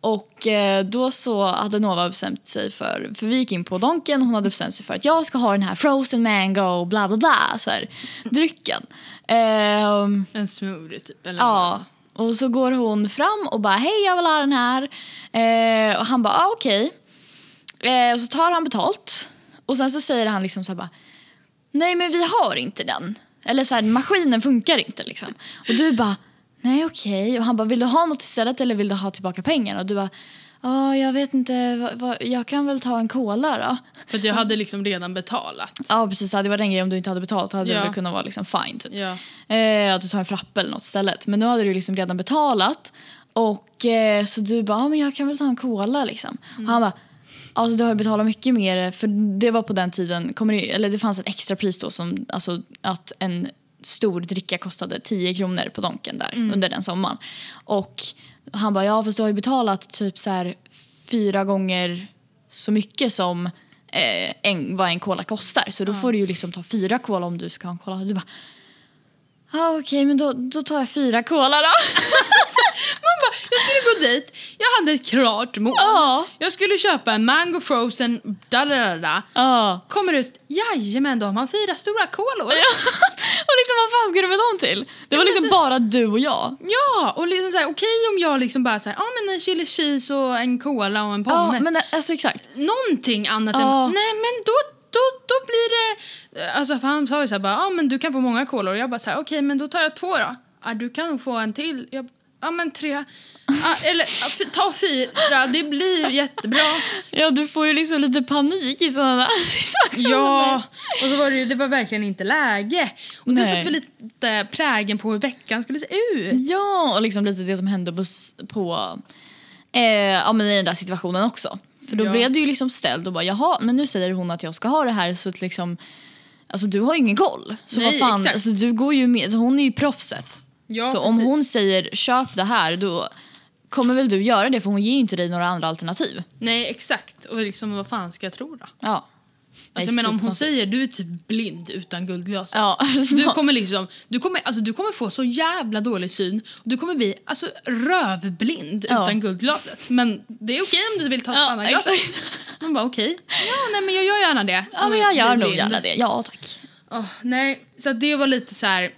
[SPEAKER 2] Och eh, då så hade Nova bestämt sig för, för vi gick in på Donken hon hade bestämt sig för att jag ska ha den här frozen mango bla bla bla så här, drycken. Ehm,
[SPEAKER 1] En smoothie typ. Eller
[SPEAKER 2] Ja. Och så går hon fram och bara hej jag vill ha den här. Eh, och han bara ah, okej. Eh, och så tar han betalt. Och sen så säger han liksom så här bara nej men vi har inte den. Eller så här maskinen funkar inte liksom. Och du bara nej okej. Och han bara, vill du ha något istället eller vill du ha tillbaka pengarna? Och du bara, ja jag vet inte, vad- vad- jag kan väl ta en cola då?
[SPEAKER 1] För att jag hade liksom redan betalat.
[SPEAKER 2] Ja precis, det var den grejen om du inte hade betalat hade
[SPEAKER 1] Ja.
[SPEAKER 2] det väl kunnat vara liksom fine typ.
[SPEAKER 1] Ja.
[SPEAKER 2] Eh, att du tar en frappe eller något istället. Men nu hade du liksom redan betalat. Och eh, så du bara, ah, men jag kan väl ta en cola liksom. Och han bara, alltså du har ju betalat mycket mer. För det var på den tiden, kommer det, eller det fanns ett extra pris då som, alltså att en stor dricka kostade 10 kronor på Donken där under den sommaren. Och han bara, ja fast du har ju betalat typ så här fyra gånger så mycket som eh, en, vad en cola kostar. Så då får du ju liksom ta fyra cola om du ska ha en cola. Du bara, Ja, okej, men då, då tar jag fyra cola då.
[SPEAKER 1] Man bara, jag skulle gå dit, jag hade ett klart mål.
[SPEAKER 2] Ja.
[SPEAKER 1] Jag skulle köpa en mango frozen, da, da, da, da.
[SPEAKER 2] Ja.
[SPEAKER 1] Kommer ut, jajamän då har man fyra stora kolor.
[SPEAKER 2] Och liksom, vad fan ska du med dem till? Det var
[SPEAKER 1] men
[SPEAKER 2] liksom
[SPEAKER 1] alltså-
[SPEAKER 2] bara du och jag.
[SPEAKER 1] Ja, och liksom såhär, okej om jag liksom bara såhär, ja ah, men en chili cheese och en cola och en
[SPEAKER 2] Ja,
[SPEAKER 1] pommes.
[SPEAKER 2] men alltså exakt.
[SPEAKER 1] Någonting annat
[SPEAKER 2] Ja.
[SPEAKER 1] än, nej men då, då, då blir det, eh, alltså för han sa ju såhär bara, ja ah, men du kan få många kolor och jag bara såhär, okej men då tar jag två då. Ah, du kan nog få en till. Jag, Ja ah, men tre, ah, eller ah, fy- ta fyra, det blir jättebra.
[SPEAKER 2] Ja, du får ju liksom lite panik i sådana där situationer.
[SPEAKER 1] Ja, och så var det ju, det var verkligen inte läge. Och det
[SPEAKER 2] Nej.
[SPEAKER 1] satte väl lite prägen på hur veckan skulle se ut.
[SPEAKER 2] Ja, och liksom lite det som hände på, s- på eh, ja, men i den där situationen också. För då
[SPEAKER 1] Ja.
[SPEAKER 2] blev du ju liksom ställd och bara jaha, men nu säger hon att jag ska ha det här så att liksom Alltså du har ju ingen koll. Så
[SPEAKER 1] Nej,
[SPEAKER 2] vad fan,
[SPEAKER 1] exakt.
[SPEAKER 2] alltså, du går ju med, så hon är ju proffset.
[SPEAKER 1] Ja,
[SPEAKER 2] så om
[SPEAKER 1] precis.
[SPEAKER 2] hon säger köp det här då kommer väl du göra det för hon ger ju inte dig några andra alternativ.
[SPEAKER 1] Nej, exakt. Och liksom, vad fan ska jag tro då?
[SPEAKER 2] Ja.
[SPEAKER 1] Alltså, men om hon säger du är typ blind utan guldglaset.
[SPEAKER 2] Ja,
[SPEAKER 1] Du kommer liksom, du kommer, alltså, du kommer få så jävla dålig syn. Du kommer bli alltså, rövblind
[SPEAKER 2] Ja.
[SPEAKER 1] utan guldglaset. Men det är okej om du vill ta ett
[SPEAKER 2] Ja,
[SPEAKER 1] annat glas.
[SPEAKER 2] exakt.
[SPEAKER 1] Man bara okej. Ja, nej men jag gör gärna det.
[SPEAKER 2] Ja, men jag gör nog gärna det. Ja, tack.
[SPEAKER 1] Åh, nej, så att det var lite så här.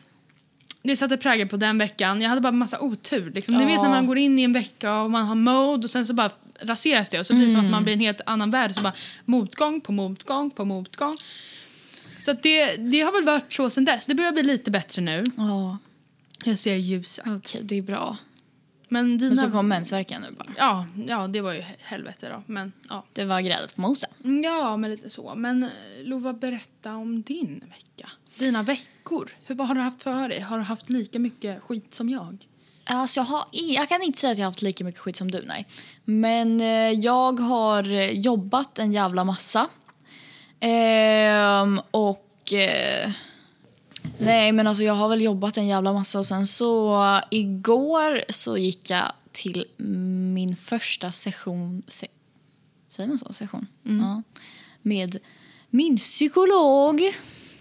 [SPEAKER 1] Det satte prägel på den veckan. Jag hade bara massa otur. Liksom. Ni
[SPEAKER 2] Ja.
[SPEAKER 1] vet när man går in i en vecka och man har mode och sen så bara raseras det och så blir det som att
[SPEAKER 2] Mm.
[SPEAKER 1] man blir en helt annan värld. Så bara motgång på motgång på motgång. Så att det, det har väl varit så sen dess. Det börjar bli lite bättre nu.
[SPEAKER 2] Ja,
[SPEAKER 1] Jag ser ljuset.
[SPEAKER 2] okej, det är bra.
[SPEAKER 1] Men dina...
[SPEAKER 2] Men så kom mensvärken nu bara.
[SPEAKER 1] ja, ja, det var ju helvete då. Men ja. Mm,
[SPEAKER 2] Det var gräddet på moset.
[SPEAKER 1] Ja, men lite så. Men eh, Lova, berätta om din vecka. Dina veckor. Hur, vad har du haft för dig? Har du haft lika mycket skit som jag?
[SPEAKER 2] Alltså jag, har, i- jag kan inte säga att jag har haft lika mycket skit som du, nej. Men eh, jag har eh, jobbat en jävla massa. Ehm, och... Eh, nej, men alltså jag har väl jobbat en jävla massa och sen så eh, igår så gick jag till min första session... Se, säger man så? Session?
[SPEAKER 1] Mm.
[SPEAKER 2] Ja. Med min psykolog.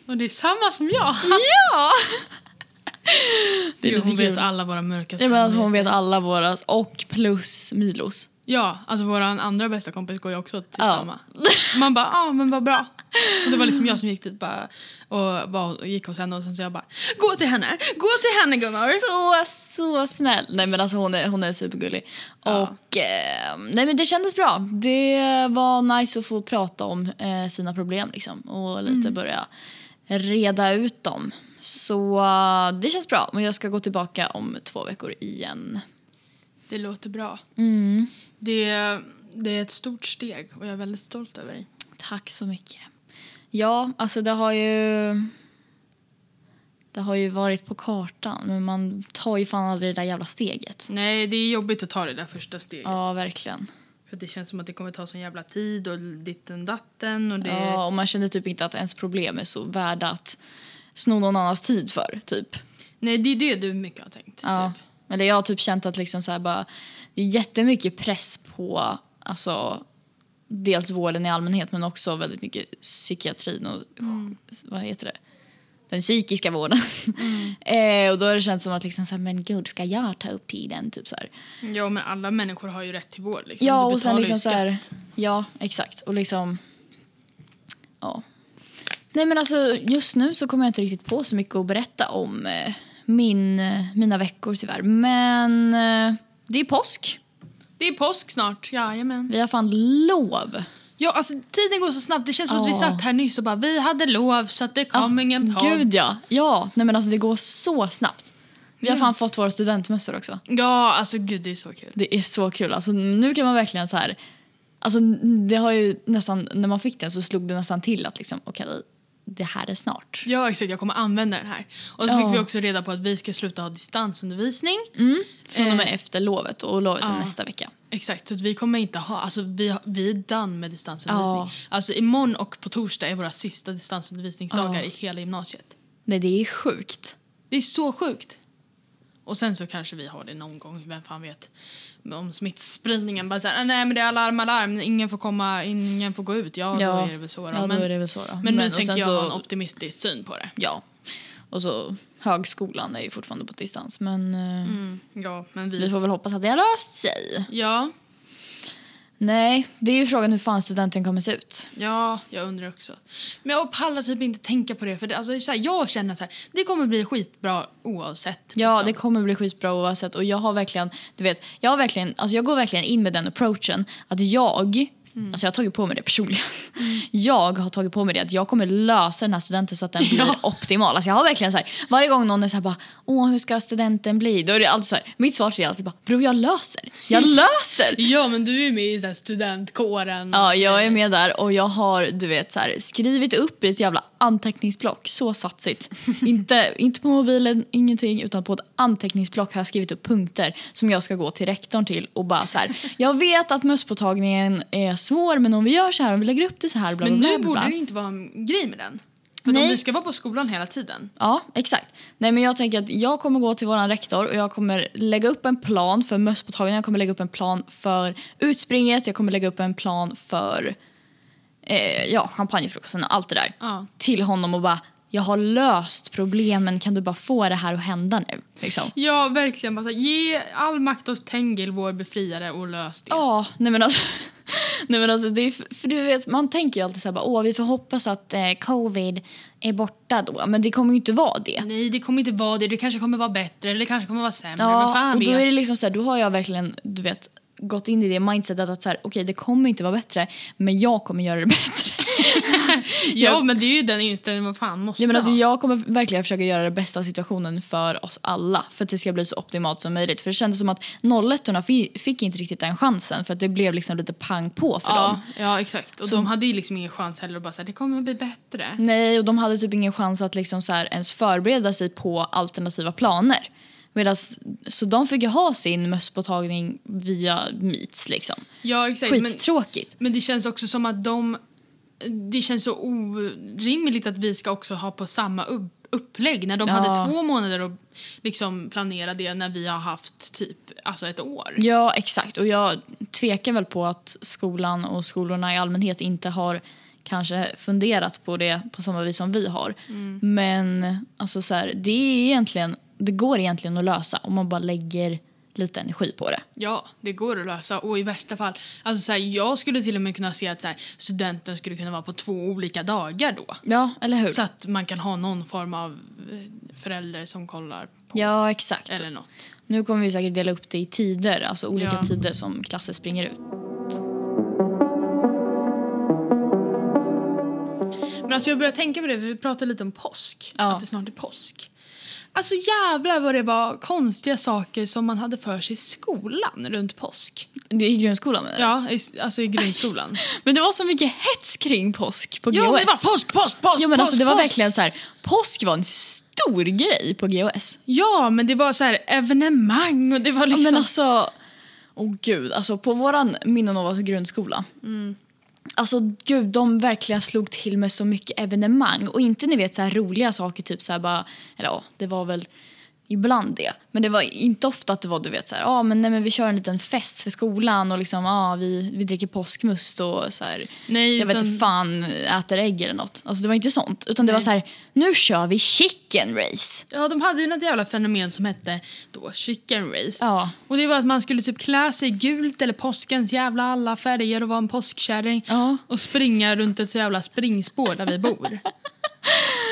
[SPEAKER 1] Och det är samma som jag.
[SPEAKER 2] Ja! Det är
[SPEAKER 1] Gud,
[SPEAKER 2] lite
[SPEAKER 1] hon
[SPEAKER 2] kul.
[SPEAKER 1] vet alla våra mörkaste
[SPEAKER 2] Nej, men alltså hon
[SPEAKER 1] hemligheter.
[SPEAKER 2] vet alla våra och plus Milos.
[SPEAKER 1] Ja, alltså vår andra bästa kompis går ju också till samma. Man bara, ja ah, men vad bra. Och det var liksom jag som gick dit bara, och bara gick hos henne och sen så jag bara, gå till henne, gå till henne Gunnar.
[SPEAKER 2] Så, så snäll. Nej men alltså hon är, hon är supergullig. Och eh, nej men det kändes bra. Det var nice att få prata om eh, sina problem liksom och lite börja reda ut dem. Så eh, det känns bra. Men jag ska gå tillbaka om två veckor igen.
[SPEAKER 1] Det låter bra.
[SPEAKER 2] Mm.
[SPEAKER 1] Det, det är ett stort steg och jag är väldigt stolt över dig.
[SPEAKER 2] Tack så mycket. Ja, alltså det har ju... Det har ju varit på kartan, men man tar ju fan aldrig det där jävla steget.
[SPEAKER 1] Nej, det är jobbigt att ta det där första steget.
[SPEAKER 2] Ja, verkligen.
[SPEAKER 1] För det känns som att det kommer ta sån jävla tid och ditten datten och det...
[SPEAKER 2] Ja, och man känner typ inte att ens problem är så värda att sno någon annans tid för, typ.
[SPEAKER 1] Nej, det är det du mycket har tänkt.
[SPEAKER 2] Ja.
[SPEAKER 1] Typ.
[SPEAKER 2] Eller jag har typ känt att liksom så här bara, det är jättemycket press på alltså, dels vården i allmänhet men också väldigt mycket psykiatrin och vad heter det? Den psykiska vården. eh, och då har det känts som att liksom så här, men gud, ska jag ta upp tiden? Typ så här.
[SPEAKER 1] Ja, men alla människor har ju rätt till vård. Liksom.
[SPEAKER 2] Ja,
[SPEAKER 1] Du
[SPEAKER 2] och
[SPEAKER 1] betalar
[SPEAKER 2] sen
[SPEAKER 1] ju
[SPEAKER 2] liksom så här,
[SPEAKER 1] skatt.
[SPEAKER 2] Ja, exakt. Och liksom... Ja. Nej, men alltså just nu så kommer jag inte riktigt på så mycket att berätta om eh, min, eh, mina veckor tyvärr. Men eh, det är påsk.
[SPEAKER 1] Det är påsk snart, jajamän.
[SPEAKER 2] Vi har fan lov.
[SPEAKER 1] Ja, alltså tiden går så snabbt. Det känns som att vi
[SPEAKER 2] Ja.
[SPEAKER 1] satt här nyss och bara,
[SPEAKER 2] Ah,
[SPEAKER 1] vi hade lov så att det kom ingen podd.
[SPEAKER 2] Gud ja. Ja, nej men alltså det går så snabbt. Vi har fan fått våra studentmössor också.
[SPEAKER 1] Ja, alltså gud det är så kul.
[SPEAKER 2] Det är så kul. Alltså, nu kan man verkligen så här... Alltså, det har ju nästan, när man fick den så slog det nästan till att liksom, okej, det här är snart.
[SPEAKER 1] Ja, exakt. Jag kommer använda den här. Och så
[SPEAKER 2] Ja.
[SPEAKER 1] fick vi också reda på att vi ska sluta ha distansundervisning.
[SPEAKER 2] Mm. Från och med
[SPEAKER 1] Eh.
[SPEAKER 2] efter lovet och lovet är
[SPEAKER 1] Ja.
[SPEAKER 2] nästa vecka.
[SPEAKER 1] Exakt, så att vi kommer inte ha... Alltså vi, har- vi är done med distansundervisning.
[SPEAKER 2] Ja.
[SPEAKER 1] Alltså imorgon och på torsdag är våra sista distansundervisningsdagar
[SPEAKER 2] Ja.
[SPEAKER 1] i hela gymnasiet.
[SPEAKER 2] Nej, det är sjukt.
[SPEAKER 1] Det är så sjukt. Och sen så kanske vi har det någon gång, vem fan vet. Men Om smittspridningen bara såhär, "Ah, nej men det är alarm, alarm, ingen får komma, in, ingen får gå ut. Ja,
[SPEAKER 2] Ja.
[SPEAKER 1] då är det väl så då.
[SPEAKER 2] Ja,
[SPEAKER 1] men,
[SPEAKER 2] då är det väl så då.
[SPEAKER 1] men nu
[SPEAKER 2] och
[SPEAKER 1] tänker
[SPEAKER 2] sen
[SPEAKER 1] jag
[SPEAKER 2] så-
[SPEAKER 1] ha en optimistisk syn på det.
[SPEAKER 2] Ja. Och så högskolan är ju fortfarande på distans, men eh,
[SPEAKER 1] Mm. Ja, men
[SPEAKER 2] vi
[SPEAKER 1] vi...
[SPEAKER 2] får väl hoppas att det har löst sig.
[SPEAKER 1] Ja,
[SPEAKER 2] Nej, det är ju frågan hur fan studenten kommer se ut.
[SPEAKER 1] Ja, jag undrar också. Men jag pallar typ inte tänka på det. För det, alltså, det är så här, Jag känner att så här, det kommer bli skitbra oavsett.
[SPEAKER 2] Ja, det
[SPEAKER 1] liksom.
[SPEAKER 2] kommer bli skitbra oavsett. Och jag har verkligen, du vet, jag har verkligen, alltså jag går verkligen in med den approachen att jag,
[SPEAKER 1] Mm.
[SPEAKER 2] alltså jag har tagit på mig det personligen. Jag har tagit på mig det att jag kommer lösa den här studenten så att den blir
[SPEAKER 1] Ja.
[SPEAKER 2] optimal. Alltså jag har verkligen så här, varje gång någon är så här bara, åh hur ska studenten bli? Då är det alltid så här, mitt svar till det är alltid bara, bror jag löser, jag löser!
[SPEAKER 1] ja, men du är ju med i så här, studentkåren.
[SPEAKER 2] Ja, jag
[SPEAKER 1] Eh.
[SPEAKER 2] är med där och jag har du vet, så här, skrivit upp i ett jävla anteckningsblock. Så satsigt. inte, inte på mobilen, ingenting, utan på ett anteckningsblock har jag skrivit upp punkter som jag ska gå till rektorn till och bara så här. Jag vet att mösspåtagningen är svår men om vi gör så här, om vi lägger upp det så här, bla,
[SPEAKER 1] Men
[SPEAKER 2] bla,
[SPEAKER 1] nu
[SPEAKER 2] bla, bla,
[SPEAKER 1] borde
[SPEAKER 2] bla.
[SPEAKER 1] det inte vara en grej med den. För att
[SPEAKER 2] Nej.
[SPEAKER 1] om vi ska vara på skolan hela tiden.
[SPEAKER 2] Ja, exakt. Nej, men jag tänker att jag kommer gå till våran rektor och jag kommer lägga upp en plan för mösspåtagningen. Jag kommer lägga upp en plan för utspringet. Jag kommer lägga upp en plan för eh, ja, champagnefrukosten och allt det där.
[SPEAKER 1] Ja.
[SPEAKER 2] Till honom och bara, jag har löst problemen. Kan du bara få det här att hända nu? Liksom.
[SPEAKER 1] Ja, verkligen. Bara, så här, ge all makt åt Tengil, vår befriare, och lös det.
[SPEAKER 2] Ja, nej men alltså. Nej men alltså det är, f- för du vet, man tänker ju alltid så här, bara, åh vi får hoppas att eh, covid är borta då. Men det kommer ju inte vara det.
[SPEAKER 1] Nej, det kommer inte vara det. Det kanske kommer vara bättre eller det kanske kommer vara sämre. Vad
[SPEAKER 2] Ja,
[SPEAKER 1] fan
[SPEAKER 2] och då
[SPEAKER 1] vet?
[SPEAKER 2] är det liksom så här, då har jag verkligen, du vet, gått in i det mindsetet att så här, okej det kommer inte vara bättre, men jag kommer göra det bättre.
[SPEAKER 1] Ja,
[SPEAKER 2] jag-
[SPEAKER 1] men det är ju den inställningen man fan måste
[SPEAKER 2] Ja, men alltså,
[SPEAKER 1] ha.
[SPEAKER 2] jag kommer verkligen försöka göra det bästa av situationen för oss alla för att det ska bli så optimalt som möjligt. För det kändes som att 01 fi- fick inte riktigt den chansen för att det blev liksom lite pang på för dem.
[SPEAKER 1] Ja, ja, exakt. Och de hade ju liksom ingen chans heller att bara säga det kommer bli bättre.
[SPEAKER 2] Nej, och de hade typ ingen chans att liksom så här ens förbereda sig på alternativa planer. Medans, så de fick ju ha sin mösspåtagning via meets liksom.
[SPEAKER 1] Ja, exakt. Men,
[SPEAKER 2] Skittråkigt.
[SPEAKER 1] men det känns också som att de... Det känns så orimligt att vi ska också ha på samma upp, upplägg när de
[SPEAKER 2] Ja.
[SPEAKER 1] hade två månader att liksom planera det när vi har haft typ alltså ett år.
[SPEAKER 2] Ja, exakt. Och jag tvekar väl på att skolan och skolorna i allmänhet inte har kanske funderat på det på samma vis som vi har.
[SPEAKER 1] Mm.
[SPEAKER 2] Men alltså så här, det är egentligen, det går egentligen att lösa om man bara lägger lite energi på det.
[SPEAKER 1] Ja, det går att lösa. Och i värsta fall, alltså så här, jag skulle till och med kunna se att så här, studenten skulle kunna vara på två olika dagar då.
[SPEAKER 2] Ja, eller hur?
[SPEAKER 1] Så att man kan ha någon form av eh, förälder som kollar på
[SPEAKER 2] Ja, exakt.
[SPEAKER 1] eller något.
[SPEAKER 2] Nu kommer vi säkert dela upp det i tider, alltså olika
[SPEAKER 1] Ja.
[SPEAKER 2] tider som klasser springer ut.
[SPEAKER 1] Men alltså jag börjar tänka på det, vi pratade lite om påsk.
[SPEAKER 2] Ja.
[SPEAKER 1] Att det snart är påsk. Alltså jävlar vad det var konstiga saker som man hade för sig i skolan runt påsk.
[SPEAKER 2] Det är I grundskolan menar du?
[SPEAKER 1] Ja, i, alltså i grundskolan.
[SPEAKER 2] Men det var så mycket hets kring påsk på
[SPEAKER 1] ja,
[SPEAKER 2] GHS.
[SPEAKER 1] men det var påsk, påsk, påsk!
[SPEAKER 2] Ja, men
[SPEAKER 1] påsk,
[SPEAKER 2] alltså det var
[SPEAKER 1] påsk.
[SPEAKER 2] verkligen så här, påsk var en stor grej på GHS.
[SPEAKER 1] Ja, men det var så här evenemang och det var
[SPEAKER 2] Ja,
[SPEAKER 1] liksom...
[SPEAKER 2] Men alltså, åh gud, alltså på våran Minnonovas grundskola.
[SPEAKER 1] Mm.
[SPEAKER 2] Alltså gud, de verkligen slog till med så mycket evenemang. Och inte ni vet så här roliga saker, typ så här bara, eller ja, det var väl ibland det. Men det var inte ofta att det var du vet så här, ja men nej men vi kör en liten fest för skolan och liksom, ja vi, vi dricker påskmust och så här.
[SPEAKER 1] Nej,
[SPEAKER 2] Jag vet
[SPEAKER 1] utan-
[SPEAKER 2] inte fan, äter ägg eller något. Alltså det var inte sånt. Utan det
[SPEAKER 1] Nej.
[SPEAKER 2] var så här, nu kör vi chicken race.
[SPEAKER 1] Ja, de hade ju något jävla fenomen som hette då chicken race.
[SPEAKER 2] Ja.
[SPEAKER 1] Och det var att man skulle typ klä sig i gult eller påskens jävla alla färger och vara en påskkärring
[SPEAKER 2] Ja.
[SPEAKER 1] och springa runt ett så jävla springspår där vi bor.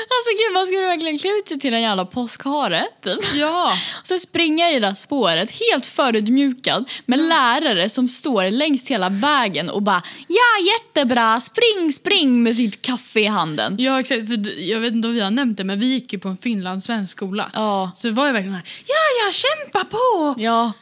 [SPEAKER 2] Alltså gud, man skulle verkligen klä ut sig till en jävla påskhare typ.
[SPEAKER 1] Ja.
[SPEAKER 2] Och sen springa i det där spåret helt förödmjukad med
[SPEAKER 1] Mm.
[SPEAKER 2] lärare som står längs hela vägen och bara ja jättebra, spring, spring med sitt kaffe i handen.
[SPEAKER 1] Ja, exakt. För du- jag vet inte om vi har nämnt det, men vi gick ju på en finlandssvensk skola.
[SPEAKER 2] Ja,
[SPEAKER 1] Så det var ju verkligen här, ja, ja, kämpa på!
[SPEAKER 2] ja.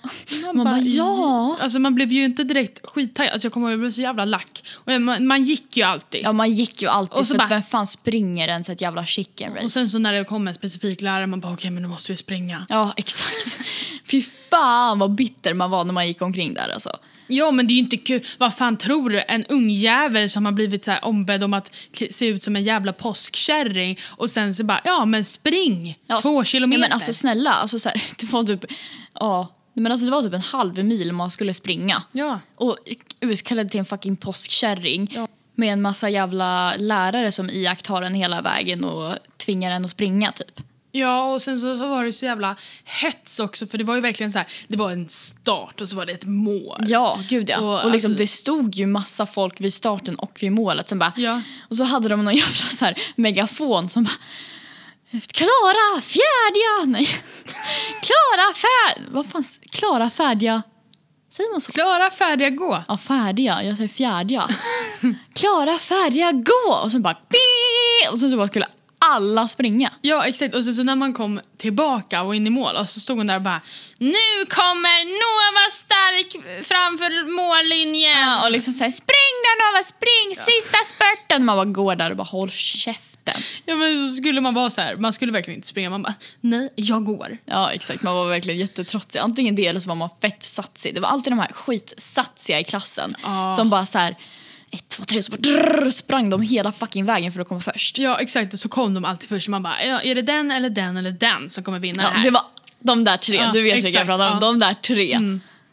[SPEAKER 2] Man, bara ja.
[SPEAKER 1] Alltså man blev ju inte direkt skittaggad. Alltså jag kommer ihåg, jag blev så jävla lack. Och man, man gick ju alltid.
[SPEAKER 2] Ja man gick ju alltid
[SPEAKER 1] Och så
[SPEAKER 2] för att
[SPEAKER 1] bara-
[SPEAKER 2] vem fan springer ens ett jävla chicken race?
[SPEAKER 1] Och sen så när det kom en specifik lärare, man bara okej, men nu måste vi springa.
[SPEAKER 2] Ja exakt. Fy fan vad bitter man var när man gick omkring där alltså.
[SPEAKER 1] Ja, men det är ju inte kul. Vad fan tror du? En ung jävel som har blivit så här ombedd om att k- se ut som en jävla påskkärring och sen så bara, ja men spring!
[SPEAKER 2] Ja,
[SPEAKER 1] Två
[SPEAKER 2] s-
[SPEAKER 1] kilometer.
[SPEAKER 2] Ja, men alltså snälla, alltså, så här, det var typ... Ja. Men alltså, det var typ en halv mil man skulle springa.
[SPEAKER 1] ja.
[SPEAKER 2] Och utklädd till en fucking påskkärring.
[SPEAKER 1] Ja.
[SPEAKER 2] Med en massa jävla lärare som iakttar en hela vägen och tvingar en att springa typ.
[SPEAKER 1] Ja, och sen så var det så jävla hets också för det var ju verkligen så här, det var en start och så var det ett mål.
[SPEAKER 2] Ja, gud ja. Och,
[SPEAKER 1] Och
[SPEAKER 2] liksom,
[SPEAKER 1] alltså-
[SPEAKER 2] det stod ju massa folk vid starten och vid målet. Sen bara,
[SPEAKER 1] Ja.
[SPEAKER 2] Och så hade de någon jävla så här megafon som bara... Klara färdiga! Nej. Klara färdiga! Vad fan? Klara färdiga? Säger man så?
[SPEAKER 1] Klara, färdiga, gå!
[SPEAKER 2] Ja, färdiga. Jag säger fjärdiga. Klara, färdiga, gå! Och sen bara... "Bii!" Och sen så bara skulle alla springa.
[SPEAKER 1] Ja, exakt. Och sen så när man kom tillbaka och in i mål och så stod hon där och bara Nu kommer Nova stark framför mållinjen!
[SPEAKER 2] Ja, och liksom såhär, spring där Nova, spring! Sista spurten! Man bara går där och bara, håll käften.
[SPEAKER 1] Ja men så skulle man vara så här, man skulle verkligen inte springa. Man bara, nej, jag går.
[SPEAKER 2] Ja, exakt. Man var verkligen jättetrotsig. Antingen det eller så var man fett satsig. Det var alltid de här skitsatsiga i klassen
[SPEAKER 1] Ja.
[SPEAKER 2] som bara så här... Ett, två, tre, så bara, drrr, sprang de hela fucking vägen för att komma först.
[SPEAKER 1] Ja exakt, så kom de alltid först. Man bara, ja, är det den eller den eller den som kommer vinna
[SPEAKER 2] Ja,
[SPEAKER 1] det här?
[SPEAKER 2] det var de där tre.
[SPEAKER 1] Ja,
[SPEAKER 2] du vet vilka jag
[SPEAKER 1] exakt,
[SPEAKER 2] pratar om.
[SPEAKER 1] ja. Mm.
[SPEAKER 2] De där tre.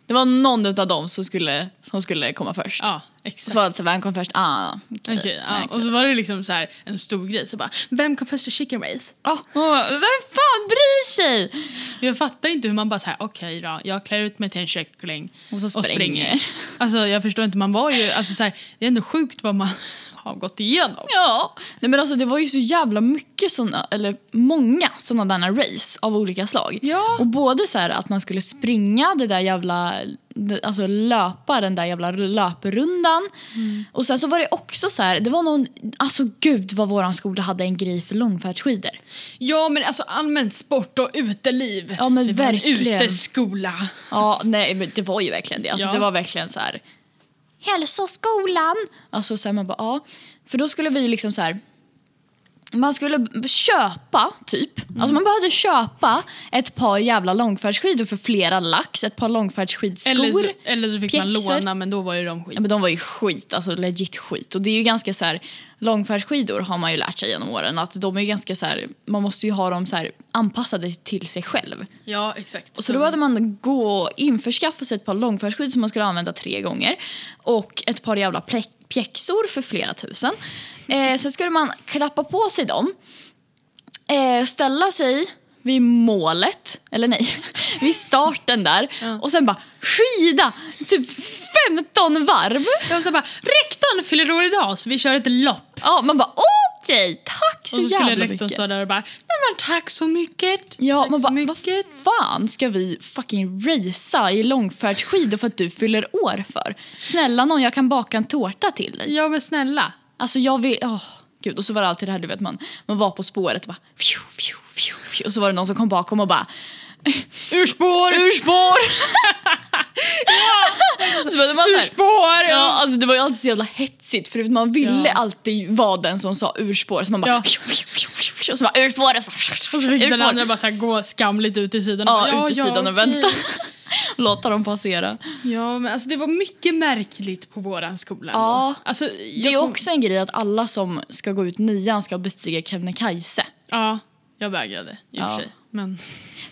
[SPEAKER 2] Det var någon av dem som skulle, som skulle komma först.
[SPEAKER 1] Ja,
[SPEAKER 2] Och
[SPEAKER 1] exakt.
[SPEAKER 2] Så var det så här, vem kom först? Ah, okej.
[SPEAKER 1] Okej,
[SPEAKER 2] Nej,
[SPEAKER 1] ja. Och så var det liksom så här en stor grej. Så bara, vem kom först i chicken race?
[SPEAKER 2] Ah, ah, vem fan bryr sig?
[SPEAKER 1] Jag fattar inte hur man bara såhär, okej då, jag klär ut mig till en kyckling
[SPEAKER 2] Och så springer.
[SPEAKER 1] Alltså jag förstår inte, man var ju, alltså så här, det är ändå sjukt vad man har gått igenom.
[SPEAKER 2] Ja, Nej, men alltså det var ju så jävla mycket såna, eller många sådana där race av olika slag.
[SPEAKER 1] Ja.
[SPEAKER 2] Och både så här att man skulle springa det där jävla, det- alltså löpa den där jävla löprundan. Och sen så var det också så här, det var någon, alltså gud vad våran skola hade en grej för långfärdsskidor.
[SPEAKER 1] Ja men alltså allmänt sport och uteliv.
[SPEAKER 2] Ja, men
[SPEAKER 1] det var en
[SPEAKER 2] verkligen.
[SPEAKER 1] uteskola.
[SPEAKER 2] Ja, nej men det var ju verkligen det. Alltså
[SPEAKER 1] Ja.
[SPEAKER 2] det var verkligen så här hälsoskolan. Alltså så här, man bara ja, för då skulle vi liksom så här man skulle b- köpa typ,
[SPEAKER 1] Mm.
[SPEAKER 2] alltså man behövde köpa ett par jävla långfärdsskidor för flera lax, ett par långfärdsskidskor.
[SPEAKER 1] Eller så, eller så fick man
[SPEAKER 2] pjäxor.
[SPEAKER 1] låna men då var ju de skit.
[SPEAKER 2] Ja, men de var ju skit, alltså legit skit. Och det är ju ganska så här, långfärdsskidor har man ju lärt sig genom åren att de är ju ganska så här, man måste ju ha dem så här anpassade till sig själv.
[SPEAKER 1] Ja, exakt.
[SPEAKER 2] Och så då behövde
[SPEAKER 1] Mm.
[SPEAKER 2] man gå och införskaffa sig ett par långfärdsskydd som man skulle använda tre gånger och ett par jävla plä- pjäxor för flera tusen. Eh, sen skulle man klappa på sig dem, eh, ställa sig vid målet, eller nej, vid starten där och sen bara skida typ 15 varv.
[SPEAKER 1] Jag så bara, rektorn fyller år idag så vi kör ett lopp.
[SPEAKER 2] Ja, man bara okej, tack så,
[SPEAKER 1] och så skulle
[SPEAKER 2] jävla
[SPEAKER 1] rektorn
[SPEAKER 2] mycket.
[SPEAKER 1] stå där och bara, nej men tack så mycket.
[SPEAKER 2] Ja,
[SPEAKER 1] tack
[SPEAKER 2] man
[SPEAKER 1] så
[SPEAKER 2] bara, vad
[SPEAKER 1] mycket.
[SPEAKER 2] fan ska vi fucking racea i långfärdsskidor för att du fyller år för? Snälla någon, jag kan baka en tårta till dig.
[SPEAKER 1] Ja men snälla.
[SPEAKER 2] Alltså jag vill, åh gud. Och så var det alltid det här du vet, man, man var på spåret och bara fju, fju, fju, fju. Och så var det någon som kom bakom och bara
[SPEAKER 1] Urspår!
[SPEAKER 2] urspår! och så började man så här,
[SPEAKER 1] Urspår!
[SPEAKER 2] Ja, alltså det var ju alltid så jävla hetsigt för man ville
[SPEAKER 1] Ja.
[SPEAKER 2] alltid vara den som sa urspår. Så man bara...
[SPEAKER 1] Ja.
[SPEAKER 2] fju, fju, fju, fju. Och så bara urspår! Och så, bara,
[SPEAKER 1] Och så fick den
[SPEAKER 2] urspår.
[SPEAKER 1] andra bara så här gå skamligt ut i sidan. och
[SPEAKER 2] Ja,
[SPEAKER 1] bara,
[SPEAKER 2] ut i sidan och
[SPEAKER 1] okej."
[SPEAKER 2] vänta. Låta dem passera.
[SPEAKER 1] Ja, men alltså det var mycket märkligt på våran skola.
[SPEAKER 2] Ja.
[SPEAKER 1] ändå. Alltså,
[SPEAKER 2] Det
[SPEAKER 1] jag
[SPEAKER 2] är
[SPEAKER 1] kom-
[SPEAKER 2] också en grej att alla som ska gå ut nian ska bestiga Kebnekaise.
[SPEAKER 1] Ja, jag vägrade i och
[SPEAKER 2] Ja.
[SPEAKER 1] för sig. Men...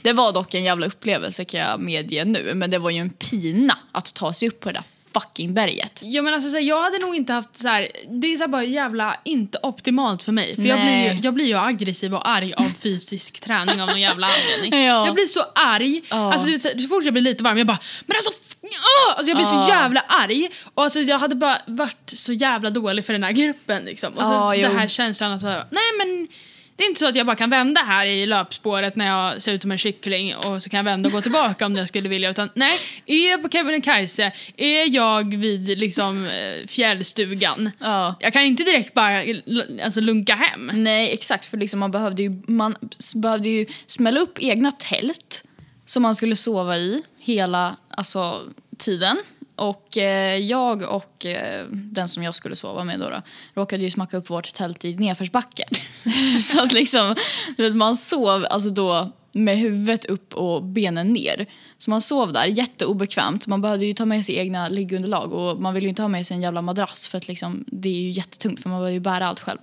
[SPEAKER 2] Det var dock en jävla upplevelse kan jag medge nu, men det var ju en pina att ta sig upp på det där fucking berget.
[SPEAKER 1] Ja, men alltså, så här, jag hade nog inte haft så här, det är så här, bara jävla inte optimalt för mig. För jag blir,
[SPEAKER 2] Nej.
[SPEAKER 1] ju, jag blir ju aggressiv och arg av fysisk träning av någon jävla anledning.
[SPEAKER 2] Ja.
[SPEAKER 1] Jag blir så arg.
[SPEAKER 2] Ja.
[SPEAKER 1] Alltså, du vet, så, här, så fort jag blir lite varm, jag bara men alltså f- "Nja!" Alltså jag blev
[SPEAKER 2] Ja.
[SPEAKER 1] så jävla arg. Och alltså jag hade bara varit så jävla dålig för den här gruppen. Liksom. Och så
[SPEAKER 2] Ja,
[SPEAKER 1] den här
[SPEAKER 2] jo.
[SPEAKER 1] känslan att bara, nej men det är inte så att jag bara kan vända här i löpspåret när jag ser ut som en kyckling och så kan jag vända och gå tillbaka om jag skulle vilja. Utan nej, är jag på Kebnekaise, är jag vid liksom eh, fjällstugan.
[SPEAKER 2] Ja.
[SPEAKER 1] Jag kan inte direkt bara l- alltså, lunka hem.
[SPEAKER 2] Nej, exakt. För liksom man, behövde ju, man s- behövde ju smälla upp egna tält som man skulle sova i hela alltså, tiden. Och eh, jag och eh, den som jag skulle sova med då, då råkade ju smacka upp vårt tält i nedförsbacke. så att liksom, du vet, man sov alltså då med huvudet upp och benen ner. Så man sov där jätteobekvämt. Man behövde ju ta med sig egna liggunderlag och man ville ju inte ha med sig en jävla madrass för att liksom, det är ju jättetungt för man behöver ju bära allt själv.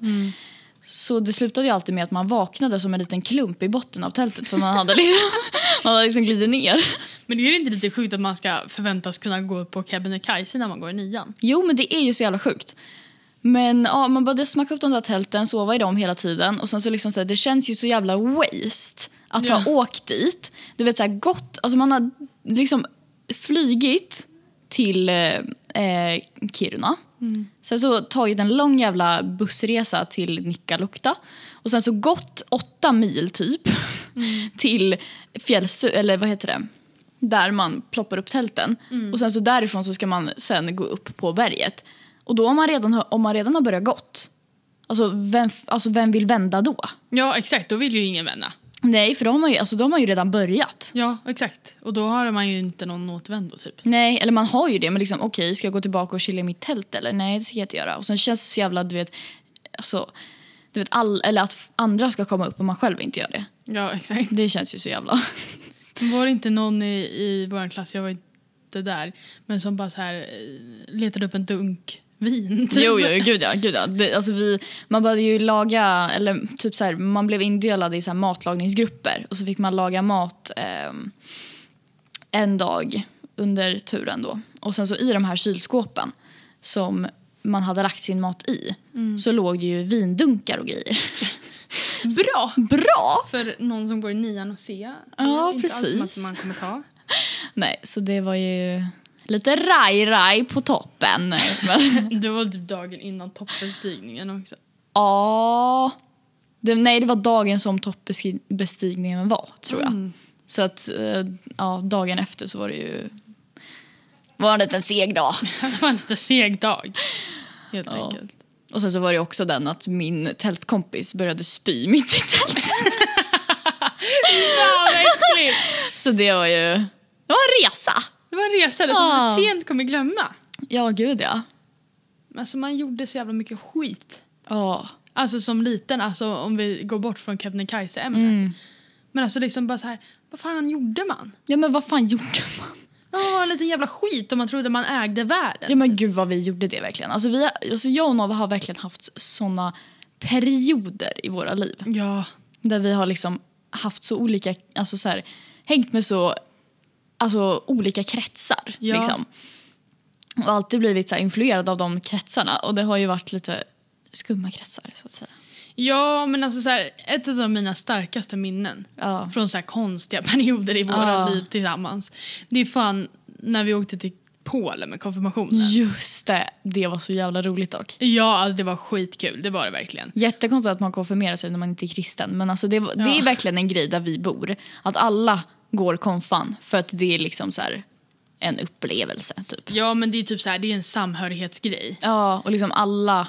[SPEAKER 2] Så det slutade ju alltid med att man vaknade som en liten klump i botten av tältet för man hade liksom, man hade liksom glidit ner.
[SPEAKER 1] Men det är ju inte lite sjukt att man ska förväntas kunna gå på Kebnekaise när man går i nian?
[SPEAKER 2] Jo men det är ju så jävla sjukt. Men ja, man började smacka upp de där tälten, sova i dem hela tiden och sen så liksom så här, det känns ju så jävla waste att ha åkt dit. Du vet så här, gott, alltså man har liksom flygit till eh, eh, Kiruna. Sen så tagit en lång jävla bussresa till Nikkaluokta och sen så gått åtta mil typ till fjällstu eller vad heter det? Där man ploppar upp tälten och sen så därifrån så ska man sen gå upp på berget. Och då om man redan har, om man redan har börjat gått, alltså vem, f- alltså vem vill vända då?
[SPEAKER 1] Ja, exakt. Då vill ju ingen vända.
[SPEAKER 2] Nej, för då har man ju, alltså, då har man ju redan börjat.
[SPEAKER 1] Ja, exakt. Och då har man ju inte någon återvändo typ.
[SPEAKER 2] Nej, eller man har ju det, men liksom okej, ska jag gå tillbaka och chilla i mitt tält eller? Nej, det ska jag inte göra. Och sen känns det så jävla, du vet, alltså, du vet all, eller att f- andra ska komma upp och man själv inte gör det.
[SPEAKER 1] Ja, exakt.
[SPEAKER 2] Det känns ju så jävla...
[SPEAKER 1] Var det inte någon i, i vår klass, jag var inte där, men som bara så här eh, letade upp en dunk vin? Typ.
[SPEAKER 2] Jo, jo, jo, gud ja. Gud ja. Det, alltså vi, man började ju laga, eller typ så här, man blev indelad i så här matlagningsgrupper och så fick man laga mat ehm, en dag under turen då. Och sen så i de här kylskåpen som man hade lagt sin mat i så låg det ju vindunkar och grejer. Bra! Bra!
[SPEAKER 1] För någon som går i nian och se.
[SPEAKER 2] Ja,
[SPEAKER 1] inte Alls
[SPEAKER 2] precis.
[SPEAKER 1] som att man kommer ta.
[SPEAKER 2] Nej, så det var ju lite raj-raj på toppen. Men-
[SPEAKER 1] Det var typ dagen innan toppbestigningen också.
[SPEAKER 2] Ja. Det, nej, det var dagen som toppbestigningen var, tror jag.
[SPEAKER 1] Mm.
[SPEAKER 2] Så att, eh, ja, dagen efter så var det ju... var en liten seg dag.
[SPEAKER 1] Det var en lite seg dag. Helt
[SPEAKER 2] Ja.
[SPEAKER 1] enkelt.
[SPEAKER 2] Och sen så var det också den att min tältkompis började spy mitt i tältet.
[SPEAKER 1] Ja, vad äckligt!
[SPEAKER 2] Så det var ju... Det var en resa!
[SPEAKER 1] Det var en resa där som
[SPEAKER 2] Ja.
[SPEAKER 1] man sent kommer glömma.
[SPEAKER 2] Ja, gud ja.
[SPEAKER 1] Alltså man gjorde så jävla mycket skit.
[SPEAKER 2] Ja.
[SPEAKER 1] Alltså som liten, alltså om vi går bort från Kebnekaise-ämnet.
[SPEAKER 2] Mm.
[SPEAKER 1] Men alltså liksom bara så här, vad fan gjorde man?
[SPEAKER 2] Ja, men vad fan gjorde man?
[SPEAKER 1] Man var en liten jävla skit om man trodde man ägde världen.
[SPEAKER 2] Ja men gud vad vi gjorde det verkligen. Alltså, vi, alltså jag och Nova har verkligen haft såna perioder i våra liv.
[SPEAKER 1] Ja.
[SPEAKER 2] Där vi har liksom haft så olika, alltså så här, hängt med så, alltså olika kretsar
[SPEAKER 1] Ja.
[SPEAKER 2] liksom. Och alltid blivit så här influerad av de kretsarna och det har ju varit lite skumma kretsar så att säga.
[SPEAKER 1] Ja, men alltså så här, ett av mina starkaste minnen
[SPEAKER 2] Ja.
[SPEAKER 1] från så här konstiga perioder i våra
[SPEAKER 2] Ja.
[SPEAKER 1] liv tillsammans. Det är fan när vi åkte till Polen med
[SPEAKER 2] Mm.
[SPEAKER 1] konfirmationen.
[SPEAKER 2] Just det, det var så jävla roligt dock.
[SPEAKER 1] Ja, alltså det var skitkul, det var det verkligen.
[SPEAKER 2] Jättekonstigt att man konfirmerar sig när man inte är kristen men alltså det, var- det
[SPEAKER 1] Ja.
[SPEAKER 2] är verkligen en grej där vi bor. Att alla går konfan för att det är liksom så här en upplevelse typ.
[SPEAKER 1] Ja, men det är typ så här, det är en samhörighetsgrej.
[SPEAKER 2] Ja, och liksom alla...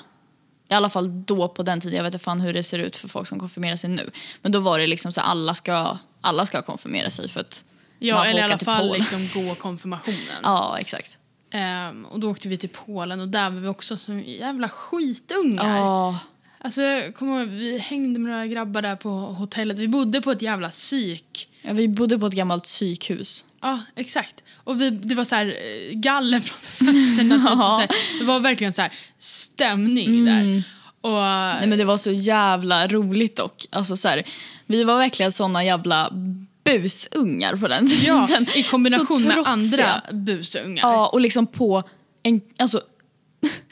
[SPEAKER 2] I alla fall då på den tiden. Jag vet inte fan hur det ser ut för folk som konfirmerar sig nu. Men då var det liksom så här, alla ska, alla ska konfirmera sig för att
[SPEAKER 1] Ja,
[SPEAKER 2] man får
[SPEAKER 1] eller i
[SPEAKER 2] åka
[SPEAKER 1] alla
[SPEAKER 2] till
[SPEAKER 1] fall
[SPEAKER 2] Polen.
[SPEAKER 1] liksom gå konfirmationen.
[SPEAKER 2] Ja, exakt.
[SPEAKER 1] Ehm, och då åkte vi till Polen och där var vi också som jävla skitungar.
[SPEAKER 2] Ja,
[SPEAKER 1] Alltså, jag kommer ihåg, vi hängde med några grabbar där på hotellet. Vi bodde på ett jävla psyk.
[SPEAKER 2] Ja, vi bodde på ett gammalt psykhus.
[SPEAKER 1] Ja, exakt. Och vi, det var så här eh, galler framför fönstren. Typ. Och så här, det var verkligen så här
[SPEAKER 2] Mm.
[SPEAKER 1] stämning där. Och,
[SPEAKER 2] Nej, men det var så jävla roligt dock. Alltså, så här, vi var verkligen såna jävla busungar på den
[SPEAKER 1] ja,
[SPEAKER 2] tiden.
[SPEAKER 1] I kombination
[SPEAKER 2] Så
[SPEAKER 1] med
[SPEAKER 2] trotsiga.
[SPEAKER 1] andra busungar.
[SPEAKER 2] Ja, och liksom på en... Alltså,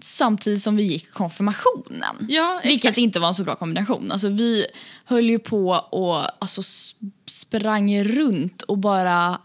[SPEAKER 2] samtidigt som vi gick konfirmationen.
[SPEAKER 1] Ja,
[SPEAKER 2] Vilket
[SPEAKER 1] exakt.
[SPEAKER 2] inte var en så bra kombination. Alltså, vi höll ju på och alltså, sp- sprang runt och bara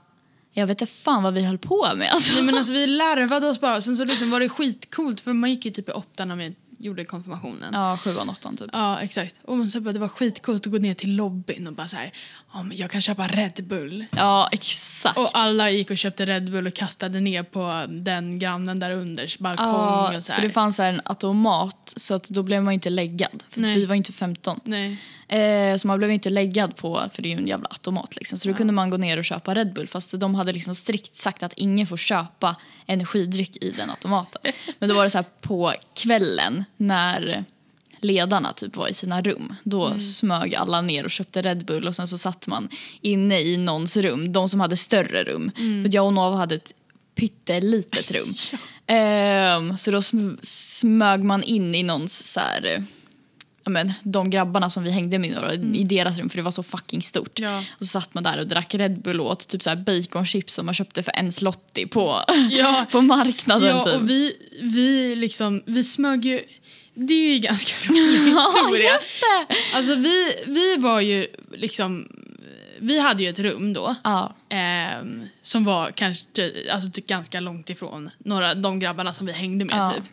[SPEAKER 2] Jag vet inte fan vad vi höll på med alltså.
[SPEAKER 1] Nej, men alltså, vi larvade oss bara. Sen så liksom var det skitcoolt för man gick ju typ i åttan när vi gjorde konfirmationen.
[SPEAKER 2] Ja, sjuan, åttan typ.
[SPEAKER 1] Ja, exakt. Och man så bara, det var skitcoolt att gå ner till lobbyn och bara så här, "Ja, men jag kan köpa Red Bull.
[SPEAKER 2] Ja, exakt.
[SPEAKER 1] Och alla gick och köpte Red Bull och kastade ner på den grannen där unders balkong
[SPEAKER 2] Ja,
[SPEAKER 1] och så här.
[SPEAKER 2] för det fanns så här en automat så att då blev man ju inte läggad. För
[SPEAKER 1] Nej.
[SPEAKER 2] vi var ju inte 15.
[SPEAKER 1] Nej.
[SPEAKER 2] Eh, så man blev inte läggad på, för det är ju en jävla automat liksom. Så då kunde man gå ner och köpa Red Bull fast de hade liksom strikt sagt att ingen får köpa energidryck i den automaten. Men då var det så här på kvällen när ledarna typ var i sina rum. Då smög alla ner och köpte Red Bull och sen så satt man inne i någons rum, de som hade större rum. För jag och Nova hade ett pyttelitet rum. Ehm, så då sm- smög man in i någons så här, eh, ja, men, de grabbarna som vi hängde med några, i deras rum för det var så fucking stort.
[SPEAKER 1] Ja.
[SPEAKER 2] Och så satt man där och drack Red Bull och åt typ så här baconchips som man köpte för en slotti på,
[SPEAKER 1] Ja.
[SPEAKER 2] på marknaden.
[SPEAKER 1] Ja,
[SPEAKER 2] typ.
[SPEAKER 1] och vi, vi liksom, vi smög ju... Det är ju en ganska rolig historia.
[SPEAKER 2] Ja, just det!
[SPEAKER 1] Alltså vi, vi var ju liksom, vi hade ju ett rum då.
[SPEAKER 2] Ja,
[SPEAKER 1] ehm, som var kanske alltså, typ ganska långt ifrån några, de grabbarna som vi hängde med.
[SPEAKER 2] Ja.
[SPEAKER 1] Typ.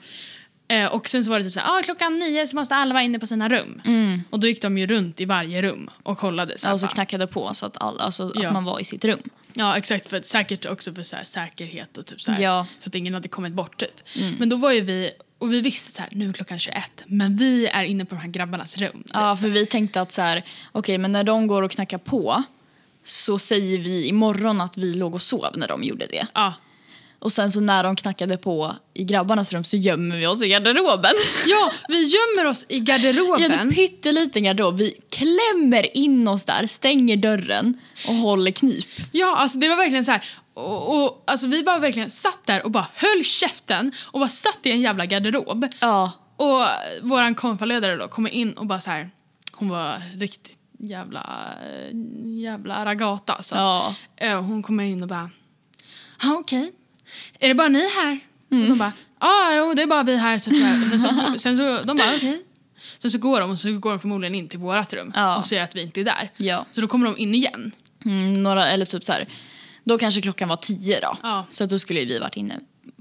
[SPEAKER 1] Eh, och sen så var det typ så här, ah, klockan nio så måste alla vara inne på sina rum. Och då gick de ju runt i varje rum och kollade. Så här,
[SPEAKER 2] Mm. och så
[SPEAKER 1] bara,
[SPEAKER 2] knackade på så att, alla, alltså, att
[SPEAKER 1] Ja.
[SPEAKER 2] man var i sitt rum.
[SPEAKER 1] Ja, exakt. För, att- säkert också för så här, säkerhet och typ så här.
[SPEAKER 2] Ja. Mm.
[SPEAKER 1] Så att ingen hade kommit bort typ. Men då var ju vi, och vi visste så här, nu är klockan 21, men vi är inne på de här grabbarnas rum. typ.
[SPEAKER 2] Ja, för vi tänkte att så här, okej, men när de går och knackar på så säger vi imorgon att vi låg och sov när de gjorde det.
[SPEAKER 1] Ja.
[SPEAKER 2] Och sen så när de knackade på i grabbarnas rum så gömmer vi oss i garderoben.
[SPEAKER 1] ja, vi gömmer oss i
[SPEAKER 2] I en
[SPEAKER 1] garderoben.
[SPEAKER 2] pytteliten garderob. Vi klämmer in oss där, stänger dörren och håller knip.
[SPEAKER 1] Ja, alltså det var verkligen så här. Och, och, alltså vi bara verkligen satt där och bara höll käften och bara satt i en jävla garderob.
[SPEAKER 2] Ja.
[SPEAKER 1] Och våran konfaledare då kommer in och bara så här, hon var riktigt jävla, jävla ragata alltså.
[SPEAKER 2] Ja.
[SPEAKER 1] Eh, och Hon kommer in och bara, ja okej, är det bara ni här? Och
[SPEAKER 2] Mm.
[SPEAKER 1] de bara, ja jo det är bara vi här. Så att, och sen, så, sen så, de bara okej. Sen så går de och så går de förmodligen in till vårat rum
[SPEAKER 2] Ja.
[SPEAKER 1] och ser att vi inte är där.
[SPEAKER 2] ja.
[SPEAKER 1] Så då kommer de in igen.
[SPEAKER 2] Mm, några, eller typ så här, då kanske klockan var tio då.
[SPEAKER 1] Ja.
[SPEAKER 2] Så att då skulle ju vi varit inne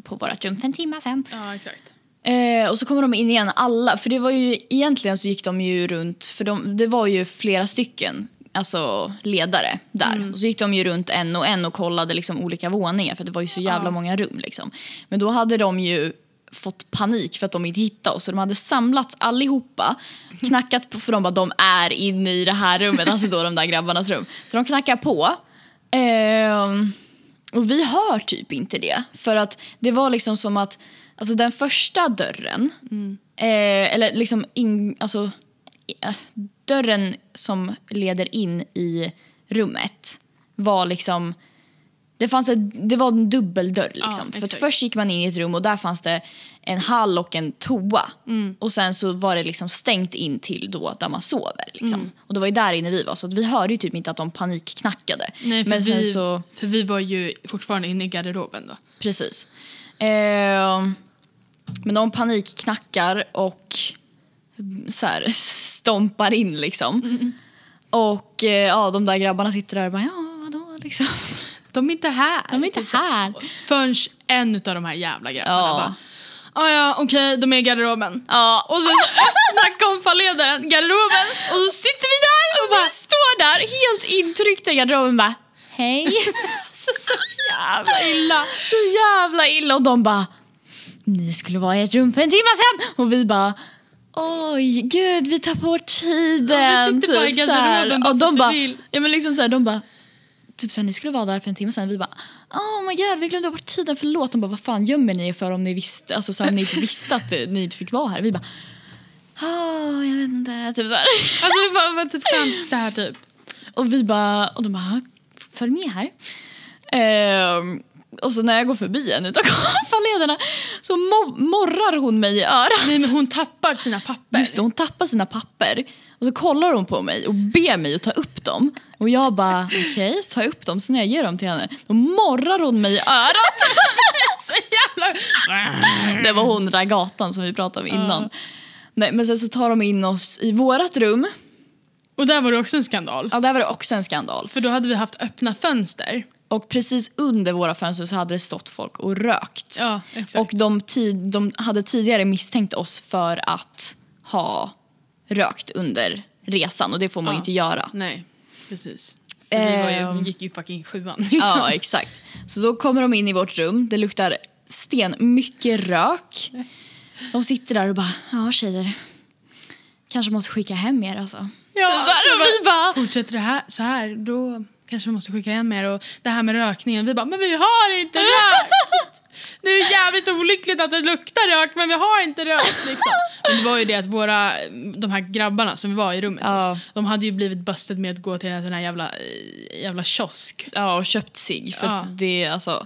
[SPEAKER 2] på vårt rum för en timme sen.
[SPEAKER 1] Ja exakt.
[SPEAKER 2] Eh, och så kommer de in igen alla, för det var ju egentligen så gick de ju runt, för de, det var ju flera stycken alltså ledare där. Och så gick de ju runt en och en och kollade liksom olika våningar för det var ju så jävla många rum liksom. Men då hade de ju fått panik för att de inte hittade oss så de hade samlats allihopa, knackat på för de bara de är inne i det här rummet, alltså då de där grabbarnas rum. Så de knackar på. Ehm, och vi hör typ inte det. För att det var liksom som att alltså den första dörren,
[SPEAKER 1] Mm.
[SPEAKER 2] eh, eller liksom in, alltså, i- eh, dörren som leder in i rummet var liksom det, fanns ett, det var en dubbeldörr. Liksom. För att
[SPEAKER 1] exakt.
[SPEAKER 2] först gick man in i ett rum och där fanns det en hall och en toa.
[SPEAKER 1] Mm.
[SPEAKER 2] Och sen så var det liksom stängt in till då där man sover. Liksom.
[SPEAKER 1] Mm.
[SPEAKER 2] Och det var ju där inne vi var så att vi hörde ju typ inte att de panikknackade.
[SPEAKER 1] Nej, för,
[SPEAKER 2] Men sen
[SPEAKER 1] vi,
[SPEAKER 2] så...
[SPEAKER 1] för vi var ju fortfarande inne i garderoben då.
[SPEAKER 2] Precis. Ehm, men de panikknackar och så här, stompar in liksom. Och eh, ja, de där grabbarna sitter där och bara ja, vadå liksom.
[SPEAKER 1] De är inte här. Typ
[SPEAKER 2] De är inte här.
[SPEAKER 1] Förrän en av de här jävla grabbarna
[SPEAKER 2] Ja.
[SPEAKER 1] bara "Ah, ja, okej, de är i garderoben.
[SPEAKER 2] Ja,
[SPEAKER 1] Och sen så öppnar konfaledaren garderoben och så sitter vi där och bara...
[SPEAKER 2] de står där helt intryckta i garderoben bara hej.
[SPEAKER 1] Så, så jävla illa.
[SPEAKER 2] så jävla illa och de bara ni skulle vara i ert rum för en timme sen och vi bara Oj, gud, vi tappar bort tiden. Typ
[SPEAKER 1] Ja, vi sitter bara i
[SPEAKER 2] så här.
[SPEAKER 1] garderoben bara för
[SPEAKER 2] och
[SPEAKER 1] att
[SPEAKER 2] de
[SPEAKER 1] vi
[SPEAKER 2] bara,
[SPEAKER 1] vill.
[SPEAKER 2] ja, men liksom så här, de bara, typ så här, ni skulle vara där för en timme sen. Vi bara, oh my god, vi glömde bort tiden, förlåt. De bara, vad fan gömmer ni er för om ni visste, alltså så här, om ni inte visste att eh, ni inte fick vara här. Vi bara, oh, jag vet inte, typ så här.
[SPEAKER 1] Alltså det var, var typ chans det här typ.
[SPEAKER 2] Och vi bara, och de bara, följ med här. Ehm, och så när jag går förbi en utav ledarna så mo- morrar hon mig i örat.
[SPEAKER 1] Nej men hon tappar sina papper.
[SPEAKER 2] Just det, hon tappar sina papper. Och så kollar hon på mig och ber mig att ta upp dem. Och jag bara, okej, så tar jag upp dem. Så när jag ger dem till henne, då morrar hon mig i örat.
[SPEAKER 1] Så jävla...
[SPEAKER 2] Det var hon ragatan som vi pratade om innan. Nej, men sen så tar de in oss i vårat rum.
[SPEAKER 1] Och där var det också en skandal.
[SPEAKER 2] Ja, där var det också en skandal.
[SPEAKER 1] För då hade vi haft öppna fönster.
[SPEAKER 2] Och precis under våra fönster så hade det stått folk och rökt.
[SPEAKER 1] Ja, exakt.
[SPEAKER 2] Och de, tid, de hade tidigare misstänkt oss för att ha rökt under resan och det får man
[SPEAKER 1] Ja.
[SPEAKER 2] ju inte göra.
[SPEAKER 1] Nej, precis. För Vi var ju,
[SPEAKER 2] Ehm.
[SPEAKER 1] vi gick ju fucking sjuan. Liksom.
[SPEAKER 2] Ja, exakt. Så då kommer de in i vårt rum, det luktar sten, mycket rök. De sitter där och bara, ja tjejer, kanske måste skicka hem er alltså.
[SPEAKER 1] Ja,
[SPEAKER 2] så här, och vi bara,
[SPEAKER 1] Fortsätter det här så här, då kanske vi måste skicka igen mer. Och det här med rökningen, vi bara, men vi har inte rökt! Det är ju jävligt olyckligt att det luktar rök, men vi har inte rökt liksom. Men det var ju det att våra, de här grabbarna som vi var i rummet
[SPEAKER 2] Ja.
[SPEAKER 1] hos, de hade ju blivit busted med att gå till den här jävla, jävla kiosk.
[SPEAKER 2] ja, och köpt sig för
[SPEAKER 1] Ja.
[SPEAKER 2] att det, alltså,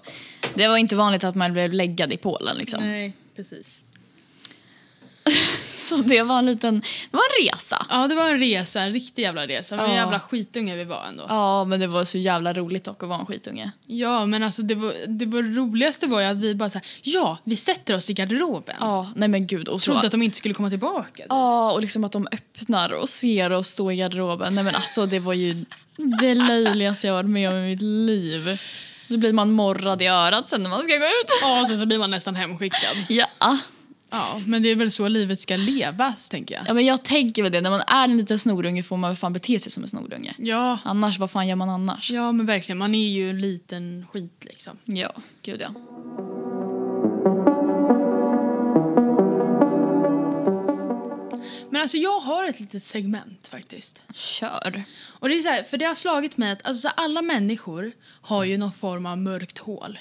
[SPEAKER 2] det var inte vanligt att man blev läggad i Polen liksom.
[SPEAKER 1] Nej, precis.
[SPEAKER 2] Så det var en liten, det var en resa.
[SPEAKER 1] Ja, det var en resa, en riktig jävla resa. Men
[SPEAKER 2] Ja.
[SPEAKER 1] jävla skitunge vi var ändå.
[SPEAKER 2] Ja, men det var så jävla roligt dock att vara en skitunge.
[SPEAKER 1] Ja, men alltså det, var, det var roligaste var ju att vi bara så här, ja, vi sätter oss i garderoben.
[SPEAKER 2] Ja, nej men gud. Och så-
[SPEAKER 1] Trodde att de inte skulle komma tillbaka.
[SPEAKER 2] Ja, och liksom att de öppnar och ser oss stå i garderoben. Nej men alltså det var ju det löjligaste jag varit med om i mitt liv. Så blir man morrad i örat sen när man ska gå ut.
[SPEAKER 1] Ja, och sen så blir man nästan hemskickad.
[SPEAKER 2] Ja,
[SPEAKER 1] Ja, men det är väl så livet ska levas, tänker jag.
[SPEAKER 2] ja men jag tänker väl det. När man är en liten snorunge får man väl fan bete sig som en snorunge.
[SPEAKER 1] Ja,
[SPEAKER 2] Annars, vad fan gör man annars?
[SPEAKER 1] ja men verkligen. Man är ju en liten skit liksom.
[SPEAKER 2] Ja, gud ja.
[SPEAKER 1] Men alltså jag har ett litet segment faktiskt.
[SPEAKER 2] Kör.
[SPEAKER 1] Och det är så här, för det har slagit mig att alltså, så här, alla människor har ju någon form av mörkt hål.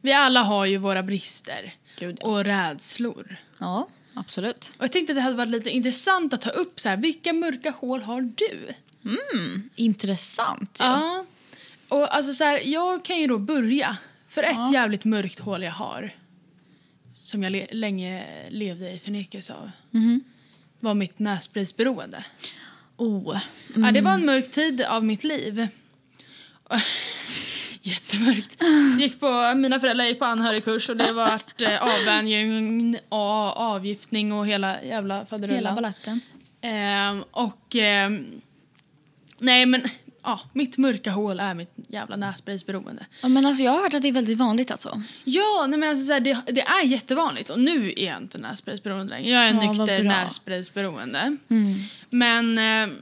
[SPEAKER 1] Vi alla har ju våra brister
[SPEAKER 2] Gud, ja.
[SPEAKER 1] och rädslor.
[SPEAKER 2] Ja, absolut.
[SPEAKER 1] Och jag tänkte att det hade varit lite intressant att ta upp så här, vilka mörka hål har du?
[SPEAKER 2] Intressant ju.
[SPEAKER 1] Ja. Och alltså så här, jag kan ju då börja. För ett
[SPEAKER 2] Ja.
[SPEAKER 1] jävligt mörkt hål jag har som jag le- länge levde i förnekelse av
[SPEAKER 2] Mhm.
[SPEAKER 1] var mitt nässprejsberoende.
[SPEAKER 2] Oh.
[SPEAKER 1] Ja, det var en mörk tid av mitt liv. Och- Jättemörkt. Gick på, mina föräldrar gick på anhörigkurs och det var eh, avvänjning, a- avgiftning och hela jävla faderullan.
[SPEAKER 2] Hela baletten.
[SPEAKER 1] Ehm, och... ehm, nej, men... Ja, mitt mörka hål är mitt jävla nässprejsberoende.
[SPEAKER 2] Ja, men alltså jag har hört att det är väldigt vanligt alltså.
[SPEAKER 1] Ja, nej men alltså så här, det, det är jättevanligt. Och nu är jag inte nässprejsberoende längre. Jag är
[SPEAKER 2] Ja, vad
[SPEAKER 1] nykter
[SPEAKER 2] bra.
[SPEAKER 1] nässprejsberoende.
[SPEAKER 2] Mm.
[SPEAKER 1] Men ehm,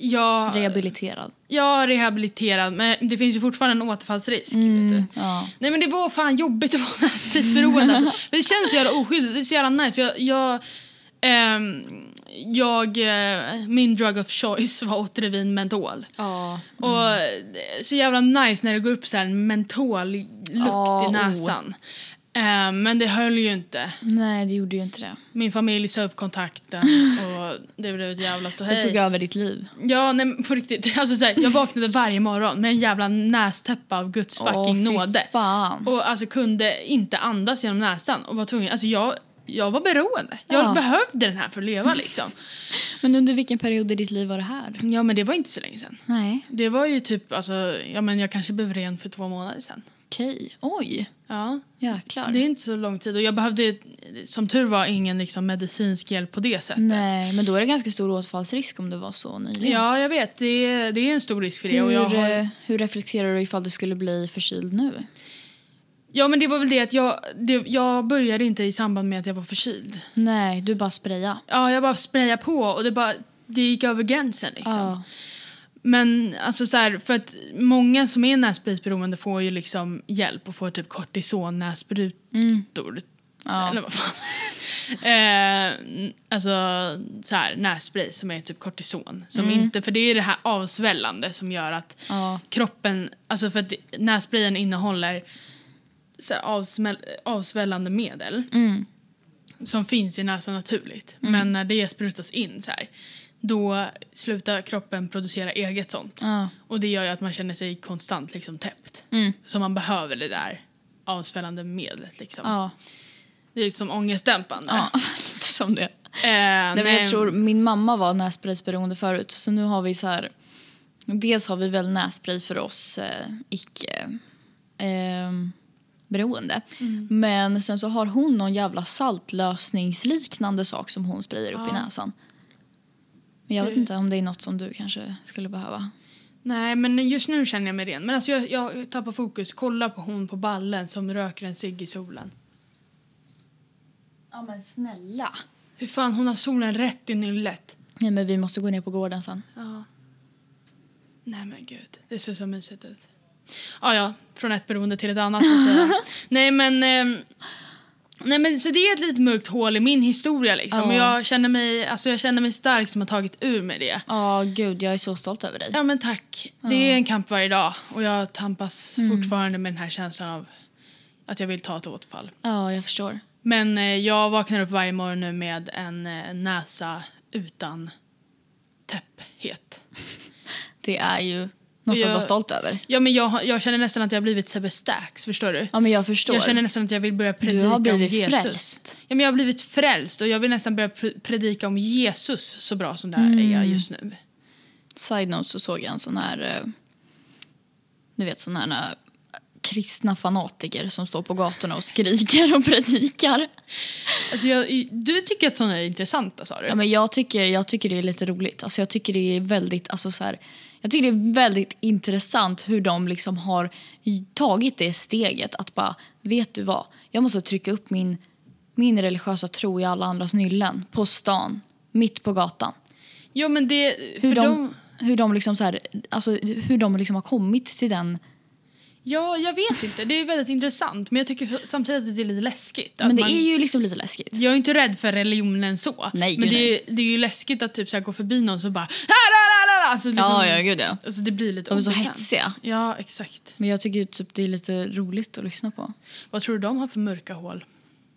[SPEAKER 1] jag,
[SPEAKER 2] Rehabiliterad.
[SPEAKER 1] jag är rehabiliterad, men det finns ju fortfarande en återfallsrisk.
[SPEAKER 2] Mm.
[SPEAKER 1] Vet du.
[SPEAKER 2] Ja.
[SPEAKER 1] Nej men det var fan jobbigt att vara nässprejsberoende. Alltså. Men det känns så jävla oskyldigt. Det är så jävla nice. För jag, jag, ehm, jag, eh, min drug of choice var Otrivin mentol.
[SPEAKER 2] ja.
[SPEAKER 1] Och
[SPEAKER 2] Mm.
[SPEAKER 1] det är så jävla nice när det går upp så här en mentollukt
[SPEAKER 2] Ja,
[SPEAKER 1] i
[SPEAKER 2] oh.
[SPEAKER 1] näsan. Eh, men det höll ju inte.
[SPEAKER 2] Nej, det gjorde ju inte det.
[SPEAKER 1] Min familj sa upp kontakten och det blev ett jävla
[SPEAKER 2] Det tog
[SPEAKER 1] ståhej.
[SPEAKER 2] över ditt liv.
[SPEAKER 1] Ja, nej, men på riktigt. Alltså, så här, jag vaknade varje morgon med en jävla nästäppa av Guds fucking
[SPEAKER 2] Åh, fy
[SPEAKER 1] nåde.
[SPEAKER 2] Fan.
[SPEAKER 1] Och alltså kunde inte andas genom näsan och var tvungen. Alltså jag, jag var beroende. Jag
[SPEAKER 2] Ja.
[SPEAKER 1] behövde den här för att leva liksom.
[SPEAKER 2] Men under vilken period i ditt liv var det här?
[SPEAKER 1] Ja, men det var inte så länge sedan.
[SPEAKER 2] Nej.
[SPEAKER 1] Det var ju typ, alltså, ja men jag kanske blev ren för två månader sedan.
[SPEAKER 2] Okej. Oj.
[SPEAKER 1] Ja.
[SPEAKER 2] Jäklar.
[SPEAKER 1] Det är inte så lång tid. Och jag behövde som tur var ingen liksom, medicinsk hjälp på det sättet.
[SPEAKER 2] Nej, men då är det ganska stor återfallsrisk om det var så nyligen.
[SPEAKER 1] Ja, jag vet. Det är, det är en stor risk för det.
[SPEAKER 2] Hur,
[SPEAKER 1] Och jag har,
[SPEAKER 2] eh, hur reflekterar du ifall du skulle bli förkyld nu?
[SPEAKER 1] ja, men det var väl det att jag, det, jag började inte i samband med att jag var förkyld.
[SPEAKER 2] Nej, du bara spraya.
[SPEAKER 1] Ja, jag bara sprayade på och det, bara, det gick över gränsen. Liksom. Men alltså så här, för att många som är nässprejsberoende får ju liksom hjälp och får typ kortisonnässprutor.
[SPEAKER 2] Mm. Ja.
[SPEAKER 1] Eller vad fan. eh, alltså så här, nässpray som är typ kortison. Som
[SPEAKER 2] Mm.
[SPEAKER 1] inte, för det är det här avsvällande som gör att
[SPEAKER 2] ja.
[SPEAKER 1] kroppen, alltså för att det- nässprayen innehåller så här avsmäll, avsvällande medel
[SPEAKER 2] Mm.
[SPEAKER 1] som finns i näsan naturligt. Men när det sprutas in så här, då slutar kroppen producera eget sånt.
[SPEAKER 2] ja.
[SPEAKER 1] Och det gör ju att man känner sig konstant liksom täppt.
[SPEAKER 2] Mm.
[SPEAKER 1] Så man behöver det där avsvällande medlet liksom.
[SPEAKER 2] Ja.
[SPEAKER 1] Det är liksom ångestdämpande.
[SPEAKER 2] ja. Lite som det.
[SPEAKER 1] Eh,
[SPEAKER 2] Nej, men
[SPEAKER 1] nej.
[SPEAKER 2] jag tror min mamma var nässprejsberoende förut så nu har vi så här dels har vi väl nässpray för oss eh, icke eh, beroende.
[SPEAKER 1] Mm.
[SPEAKER 2] Men sen så har hon någon jävla saltlösningsliknande sak som hon sprayar upp i
[SPEAKER 1] Ja.
[SPEAKER 2] näsan. Men jag vet
[SPEAKER 1] Hur-
[SPEAKER 2] inte om det är något som du kanske skulle behöva.
[SPEAKER 1] Nej, men just nu känner jag mig ren. Men alltså jag, jag tappar fokus. Kolla på hon på ballen som röker en cigg i solen.
[SPEAKER 2] Ja men snälla.
[SPEAKER 1] Hur fan, hon har solen rätt i nyllet.
[SPEAKER 2] Nej men vi måste gå ner på gården sen.
[SPEAKER 1] Ja. Nej men gud, det ser så mysigt ut. Ja, ja, från ett beroende till ett annat. Så att säga. Nej men... ehm, Nej men så det är ett litet mörkt hål i min historia liksom.
[SPEAKER 2] Ja.
[SPEAKER 1] Och jag känner mig, alltså jag känner mig stark som har tagit ur mig det.
[SPEAKER 2] Ja gud jag är så stolt över dig.
[SPEAKER 1] Ja Mm. men tack. Det är en kamp varje dag och jag tampas fortfarande med den här känslan av att jag vill ta ett återfall.
[SPEAKER 2] Ja, jag förstår.
[SPEAKER 1] Men eh, jag vaknar upp varje morgon nu med en eh, näsa utan täpphet.
[SPEAKER 2] Det är ju något
[SPEAKER 1] Jag-
[SPEAKER 2] att vara stolt över.
[SPEAKER 1] Ja, men jag, har- jag känner nästan att jag har blivit Sebbe Stax, förstår du?
[SPEAKER 2] Ja, men jag förstår.
[SPEAKER 1] Jag känner nästan att jag vill börja
[SPEAKER 2] du
[SPEAKER 1] predika
[SPEAKER 2] har
[SPEAKER 1] om
[SPEAKER 2] blivit
[SPEAKER 1] Jesus.
[SPEAKER 2] frälst.
[SPEAKER 1] Ja, men jag har blivit frälst och jag vill nästan börja pr- predika om Jesus så bra som det här
[SPEAKER 2] Mm.
[SPEAKER 1] är just nu.
[SPEAKER 2] Side note så såg jag en sån här, eh, ni vet sån här eh, kristna fanatiker som står på gatorna och skriker och predikar.
[SPEAKER 1] Alltså jag, du tycker att sådana är intressanta sa du?
[SPEAKER 2] Ja, men jag, tycker, jag tycker det är lite roligt. Alltså, jag tycker det är väldigt, alltså, så här, jag tycker det är väldigt intressant hur de liksom har j- tagit det steget att bara, vet du vad? Jag måste trycka upp min, min religiösa tro i alla andras nyllen på stan, mitt på gatan.
[SPEAKER 1] ja, men det...
[SPEAKER 2] Hur
[SPEAKER 1] för
[SPEAKER 2] de,
[SPEAKER 1] de...
[SPEAKER 2] hur de liksom så här, alltså hur de liksom har kommit till den.
[SPEAKER 1] Ja, jag vet inte. Det är väldigt intressant men jag tycker samtidigt att det är lite läskigt. att
[SPEAKER 2] Men det
[SPEAKER 1] man-
[SPEAKER 2] är ju liksom lite läskigt.
[SPEAKER 1] Jag är inte rädd för religionen så.
[SPEAKER 2] Nej,
[SPEAKER 1] men
[SPEAKER 2] gud,
[SPEAKER 1] det är, det är ju läskigt att typ så här gå förbi någon som bara... "Ra-ra-ra-ra-ra", Alltså, liksom,
[SPEAKER 2] gud ja.
[SPEAKER 1] alltså det blir lite
[SPEAKER 2] De är så
[SPEAKER 1] obekvämt.
[SPEAKER 2] hetsiga.
[SPEAKER 1] Ja, exakt.
[SPEAKER 2] Men jag tycker ju typ det är lite roligt att lyssna på.
[SPEAKER 1] Vad tror du de har för mörka hål?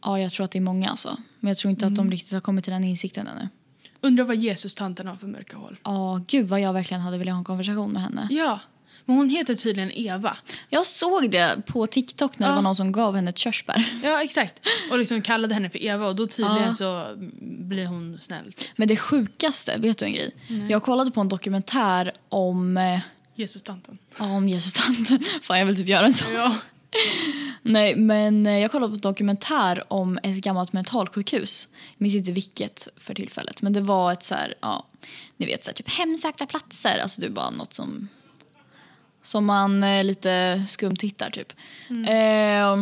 [SPEAKER 2] Ja, jag tror att det är många alltså. Men jag tror inte att de riktigt har kommit till den insikten ännu.
[SPEAKER 1] Undrar vad Jesus-tanten har för mörka hål.
[SPEAKER 2] Ja, gud vad jag verkligen hade velat ha en konversation med henne.
[SPEAKER 1] Ja, men hon heter tydligen Eva.
[SPEAKER 2] Jag såg det på TikTok när
[SPEAKER 1] Ja.
[SPEAKER 2] det var någon som gav henne ett körsbär.
[SPEAKER 1] Ja, exakt. Och liksom kallade henne för Eva och då tydligen
[SPEAKER 2] Ja.
[SPEAKER 1] så blir hon snäll.
[SPEAKER 2] Men det sjukaste, vet du en grej? Jag kollade på en dokumentär om, eh,
[SPEAKER 1] Jesus-tanten.
[SPEAKER 2] ja, om Jesus-tanten. Fan, jag vill typ göra en sån.
[SPEAKER 1] Ja.
[SPEAKER 2] Nej, men eh, jag kollade på en dokumentär om ett gammalt mentalsjukhus. Jag minns inte vilket för tillfället, men det var ett så här, ja, ni vet så här, typ hemsökta platser. Alltså det var något som, som man eh, lite skumt hittar typ. Eh,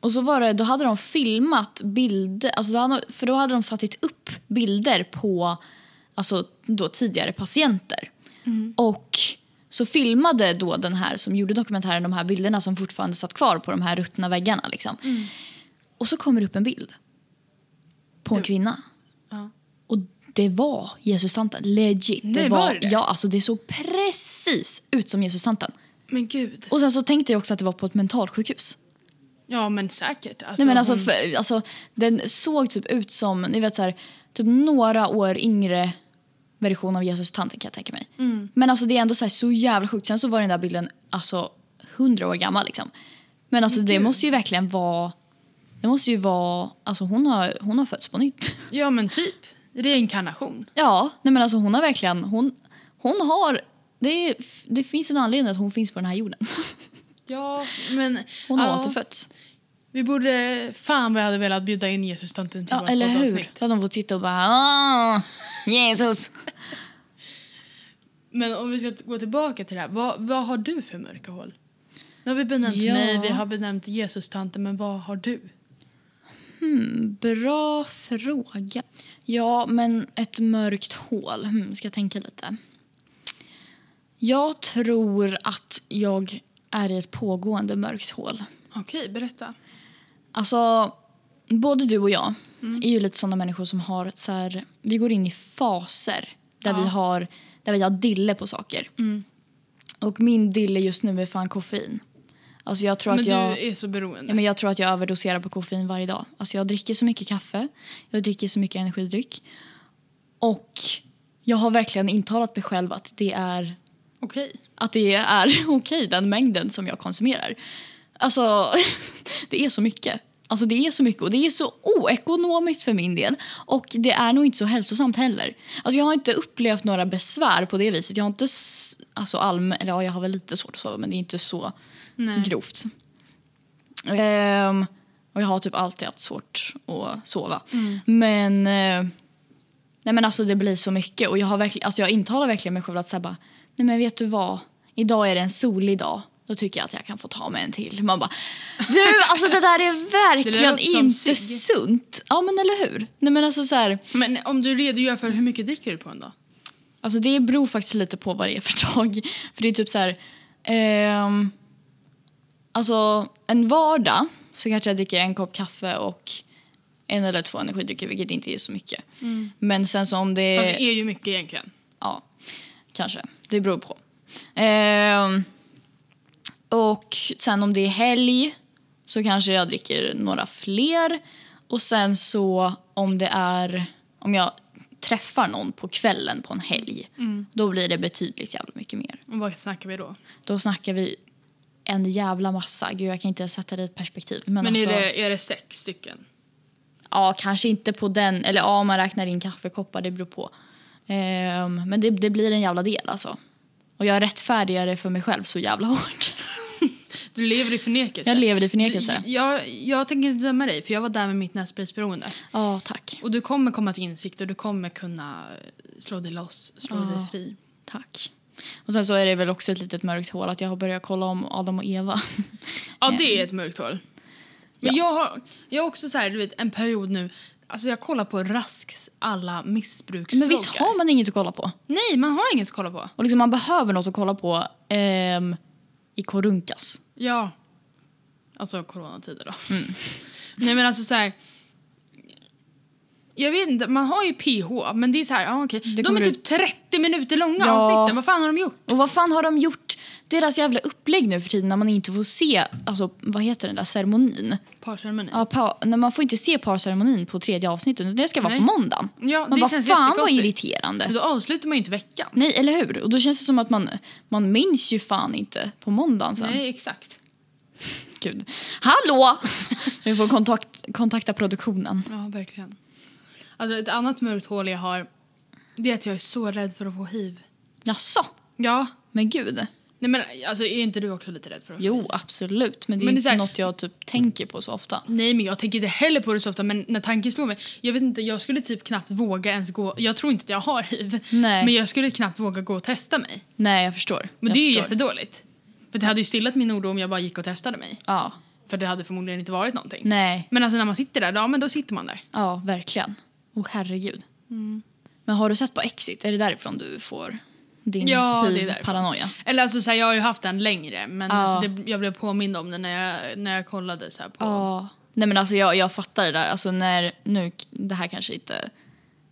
[SPEAKER 2] och så var det, då hade de filmat bilder, alltså då hade, för då hade de satt upp bilder på alltså då tidigare patienter. Och så filmade då den här som gjorde dokumentären de här bilderna som fortfarande satt kvar på de här ruttna väggarna. Liksom.
[SPEAKER 1] Mm.
[SPEAKER 2] Och så kommer det upp en bild på en
[SPEAKER 1] Det-
[SPEAKER 2] kvinna.
[SPEAKER 1] Ja.
[SPEAKER 2] Och det var Jesus-tanten. Legit.
[SPEAKER 1] Nej, var det?
[SPEAKER 2] Ja, alltså det såg precis ut som Jesus-tanten.
[SPEAKER 1] Men gud.
[SPEAKER 2] Och sen så tänkte jag också att det var på ett mentalsjukhus.
[SPEAKER 1] Ja, men säkert. Alltså,
[SPEAKER 2] Nej, men alltså,
[SPEAKER 1] hon-
[SPEAKER 2] för, alltså, den såg typ ut som ni vet, så här, typ några år yngre version av Jesus tanten kan jag tänka mig.
[SPEAKER 1] Mm.
[SPEAKER 2] Men alltså, det är ändå så, här, så jävla sjukt. Sen så var den där bilden alltså hundra år gammal. Liksom. Men alltså, det
[SPEAKER 1] gud.
[SPEAKER 2] måste ju verkligen vara... Det måste ju vara... Alltså, hon, har, hon har fötts på nytt.
[SPEAKER 1] Ja, men typ. Reinkarnation.
[SPEAKER 2] ja, nej, men alltså, hon har verkligen... Hon, hon har... Det, är, det finns en anledning att hon finns på den här jorden.
[SPEAKER 1] Ja, men...
[SPEAKER 2] Hon har
[SPEAKER 1] ja,
[SPEAKER 2] återfötts.
[SPEAKER 1] Vi borde... Fan vad jag hade velat bjuda in Jesus-tanten till
[SPEAKER 2] Ja,
[SPEAKER 1] vårt
[SPEAKER 2] eller hur?
[SPEAKER 1] poddavsnitt.
[SPEAKER 2] Så att de får titta och bara... "Ah, Jesus!
[SPEAKER 1] Men om vi ska t- gå tillbaka till det här. Vad, vad har du för mörka hål? Nu har vi benämnt
[SPEAKER 2] Ja.
[SPEAKER 1] mig, vi har benämnt Jesus-tanten, men vad har du?
[SPEAKER 2] Hmm, bra fråga. Ja, men ett mörkt hål. Hmm, ska jag tänka lite. Jag tror att jag är i ett pågående mörkt hål.
[SPEAKER 1] Okej, berätta.
[SPEAKER 2] Alltså, både du och jag
[SPEAKER 1] Mm.
[SPEAKER 2] är ju lite sådana människor som har så här, vi går in i faser där
[SPEAKER 1] Ja.
[SPEAKER 2] vi har, där vi har dille på saker.
[SPEAKER 1] Mm.
[SPEAKER 2] Och min dille just nu är fan koffein. Alltså jag tror
[SPEAKER 1] Men
[SPEAKER 2] att jag...
[SPEAKER 1] du är så beroende.
[SPEAKER 2] Ja, men jag tror att jag överdoserar på koffein varje dag. Alltså jag dricker så mycket kaffe, jag dricker så mycket energidryck. Och jag har verkligen intalat mig själv att det är,
[SPEAKER 1] Okej.
[SPEAKER 2] att det är okej, den mängden som jag konsumerar. Alltså, det är så mycket. Alltså det är så mycket och det är så oekonomiskt för min del. Och det är nog inte så hälsosamt heller. Alltså jag har inte upplevt några besvär på det viset. Jag har inte, s- alltså allmän, eller ja, jag har väl lite svårt att sova men det är inte så
[SPEAKER 1] Nej.
[SPEAKER 2] grovt. Ehm,
[SPEAKER 1] Mm.
[SPEAKER 2] och jag har typ alltid haft svårt att sova. Men eh, Nej men alltså det blir så mycket och jag, har verkligen, alltså jag intalar verkligen mig själv att säga bara, nej men vet du vad, idag är det en solig dag. Då tycker jag att jag kan få ta mig en till. Man bara, du alltså det där är verkligen
[SPEAKER 1] låter som
[SPEAKER 2] inte
[SPEAKER 1] cigg.
[SPEAKER 2] sunt. Ja men eller hur? Nej men alltså så här,
[SPEAKER 1] Men om du redogör för hur mycket dricker du på en dag?
[SPEAKER 2] Alltså det beror faktiskt lite på vad det är för dag. För det är typ så här... ehm, alltså en vardag så kanske jag dricker en kopp kaffe och en eller två energidrycker vilket inte är så mycket. Men sen så om det...
[SPEAKER 1] Fast Alltså, det är ju mycket egentligen.
[SPEAKER 2] Ja, kanske. Det beror på. Ehm, och sen om det är helg så kanske jag dricker några fler. Och sen så om det är... Om jag träffar någon på kvällen på en helg
[SPEAKER 1] Mm.
[SPEAKER 2] då blir det betydligt jävla mycket mer.
[SPEAKER 1] Och vad snackar vi då?
[SPEAKER 2] Då snackar vi en jävla massa. Gud, jag kan inte ens sätta det i ett perspektiv. Men,
[SPEAKER 1] Men
[SPEAKER 2] alltså,
[SPEAKER 1] är, det, är det sex stycken?
[SPEAKER 2] Ja, kanske inte på den. Eller ja, om man räknar in kaffekoppar, det beror på. Ehm, men det, det blir en jävla del alltså. Och jag rättfärdigar det för mig själv så jävla hårt.
[SPEAKER 1] Du lever i förnekelse.
[SPEAKER 2] Jag lever i förnekelse.
[SPEAKER 1] Du- Jag, jag tänker inte döma dig, för jag var där med mitt nässprejsberoende.
[SPEAKER 2] Ja, tack.
[SPEAKER 1] Och du kommer komma till insikt och du kommer kunna slå dig loss, slå
[SPEAKER 2] Ja.
[SPEAKER 1] dig fri.
[SPEAKER 2] Tack. Och sen så är det väl också ett litet mörkt hål att jag har börjat kolla om Adam och Eva.
[SPEAKER 1] Ja, det är ett mörkt hål. Men jag har, jag har också så här, du vet, en period nu, alltså jag kollar på Rasks alla missbruksbloggar.
[SPEAKER 2] Eh, Men visst har man inget att kolla på?
[SPEAKER 1] Nej, man har inget att kolla på.
[SPEAKER 2] Och liksom man behöver något att kolla på ehm, i Korunkas.
[SPEAKER 1] Ja. Alltså coronatider då.
[SPEAKER 2] Mm.
[SPEAKER 1] Nej men alltså så här. Jag vet inte, man har ju PH, men det är så här, ah, okej. De
[SPEAKER 2] kommer
[SPEAKER 1] är typ 30 minuter långa
[SPEAKER 2] Ja.
[SPEAKER 1] avsnitten, vad fan har de gjort?
[SPEAKER 2] Och vad fan har de gjort? Deras jävla upplägg nu för tiden när man inte får se, alltså vad heter den där ceremonin?
[SPEAKER 1] Parceremoni.
[SPEAKER 2] Ja, pa, när man får inte se parceremonin på tredje avsnittet. utan Det ska vara
[SPEAKER 1] Nej.
[SPEAKER 2] på måndag.
[SPEAKER 1] Ja,
[SPEAKER 2] man
[SPEAKER 1] det
[SPEAKER 2] bara,
[SPEAKER 1] känns
[SPEAKER 2] fan vad
[SPEAKER 1] jättekonstigt."
[SPEAKER 2] irriterande.
[SPEAKER 1] Då avslutar man ju inte veckan.
[SPEAKER 2] Nej, eller hur? Och då känns det som att man, man minns ju fan inte på måndagen sen.
[SPEAKER 1] Nej, exakt.
[SPEAKER 2] Gud. Hallå! Vi får kontakt, kontakta produktionen.
[SPEAKER 1] Ja, verkligen. Alltså ett annat mörkt hål jag har, det är att jag är så rädd för att få hiv.
[SPEAKER 2] Jaså?
[SPEAKER 1] Ja.
[SPEAKER 2] Men gud.
[SPEAKER 1] Nej men alltså är inte du också lite rädd för att få
[SPEAKER 2] Jo, absolut. Men det är
[SPEAKER 1] Men det är
[SPEAKER 2] inte
[SPEAKER 1] så här-
[SPEAKER 2] något jag typ tänker på så ofta.
[SPEAKER 1] Nej men jag tänker inte heller på det så ofta men när tanken slår mig. Jag vet inte, jag skulle typ knappt våga ens gå. Jag tror inte att jag har hiv.
[SPEAKER 2] Nej.
[SPEAKER 1] Men jag skulle knappt våga gå och testa mig.
[SPEAKER 2] Nej, jag förstår.
[SPEAKER 1] Men
[SPEAKER 2] jag
[SPEAKER 1] det är ju
[SPEAKER 2] förstår.
[SPEAKER 1] jättedåligt. För det hade ju stillat min oro om jag bara gick och testade mig.
[SPEAKER 2] Ja.
[SPEAKER 1] För det hade förmodligen inte varit någonting.
[SPEAKER 2] Nej,
[SPEAKER 1] Men alltså när man sitter där, ja men då sitter man där.
[SPEAKER 2] Ja, verkligen. Åh, herregud.
[SPEAKER 1] Mm.
[SPEAKER 2] Men har du sett på Exit? Är det därifrån du får din
[SPEAKER 1] Ja, det är därifrån.
[SPEAKER 2] hiv-paranoia?
[SPEAKER 1] Eller alltså så här, jag har ju haft den längre men
[SPEAKER 2] Ja.
[SPEAKER 1] alltså, det, jag blev påmind om det när jag, när jag kollade så här på.
[SPEAKER 2] Ja. Nej, men alltså jag, jag fattar det där. Alltså när, nu, det här kanske inte...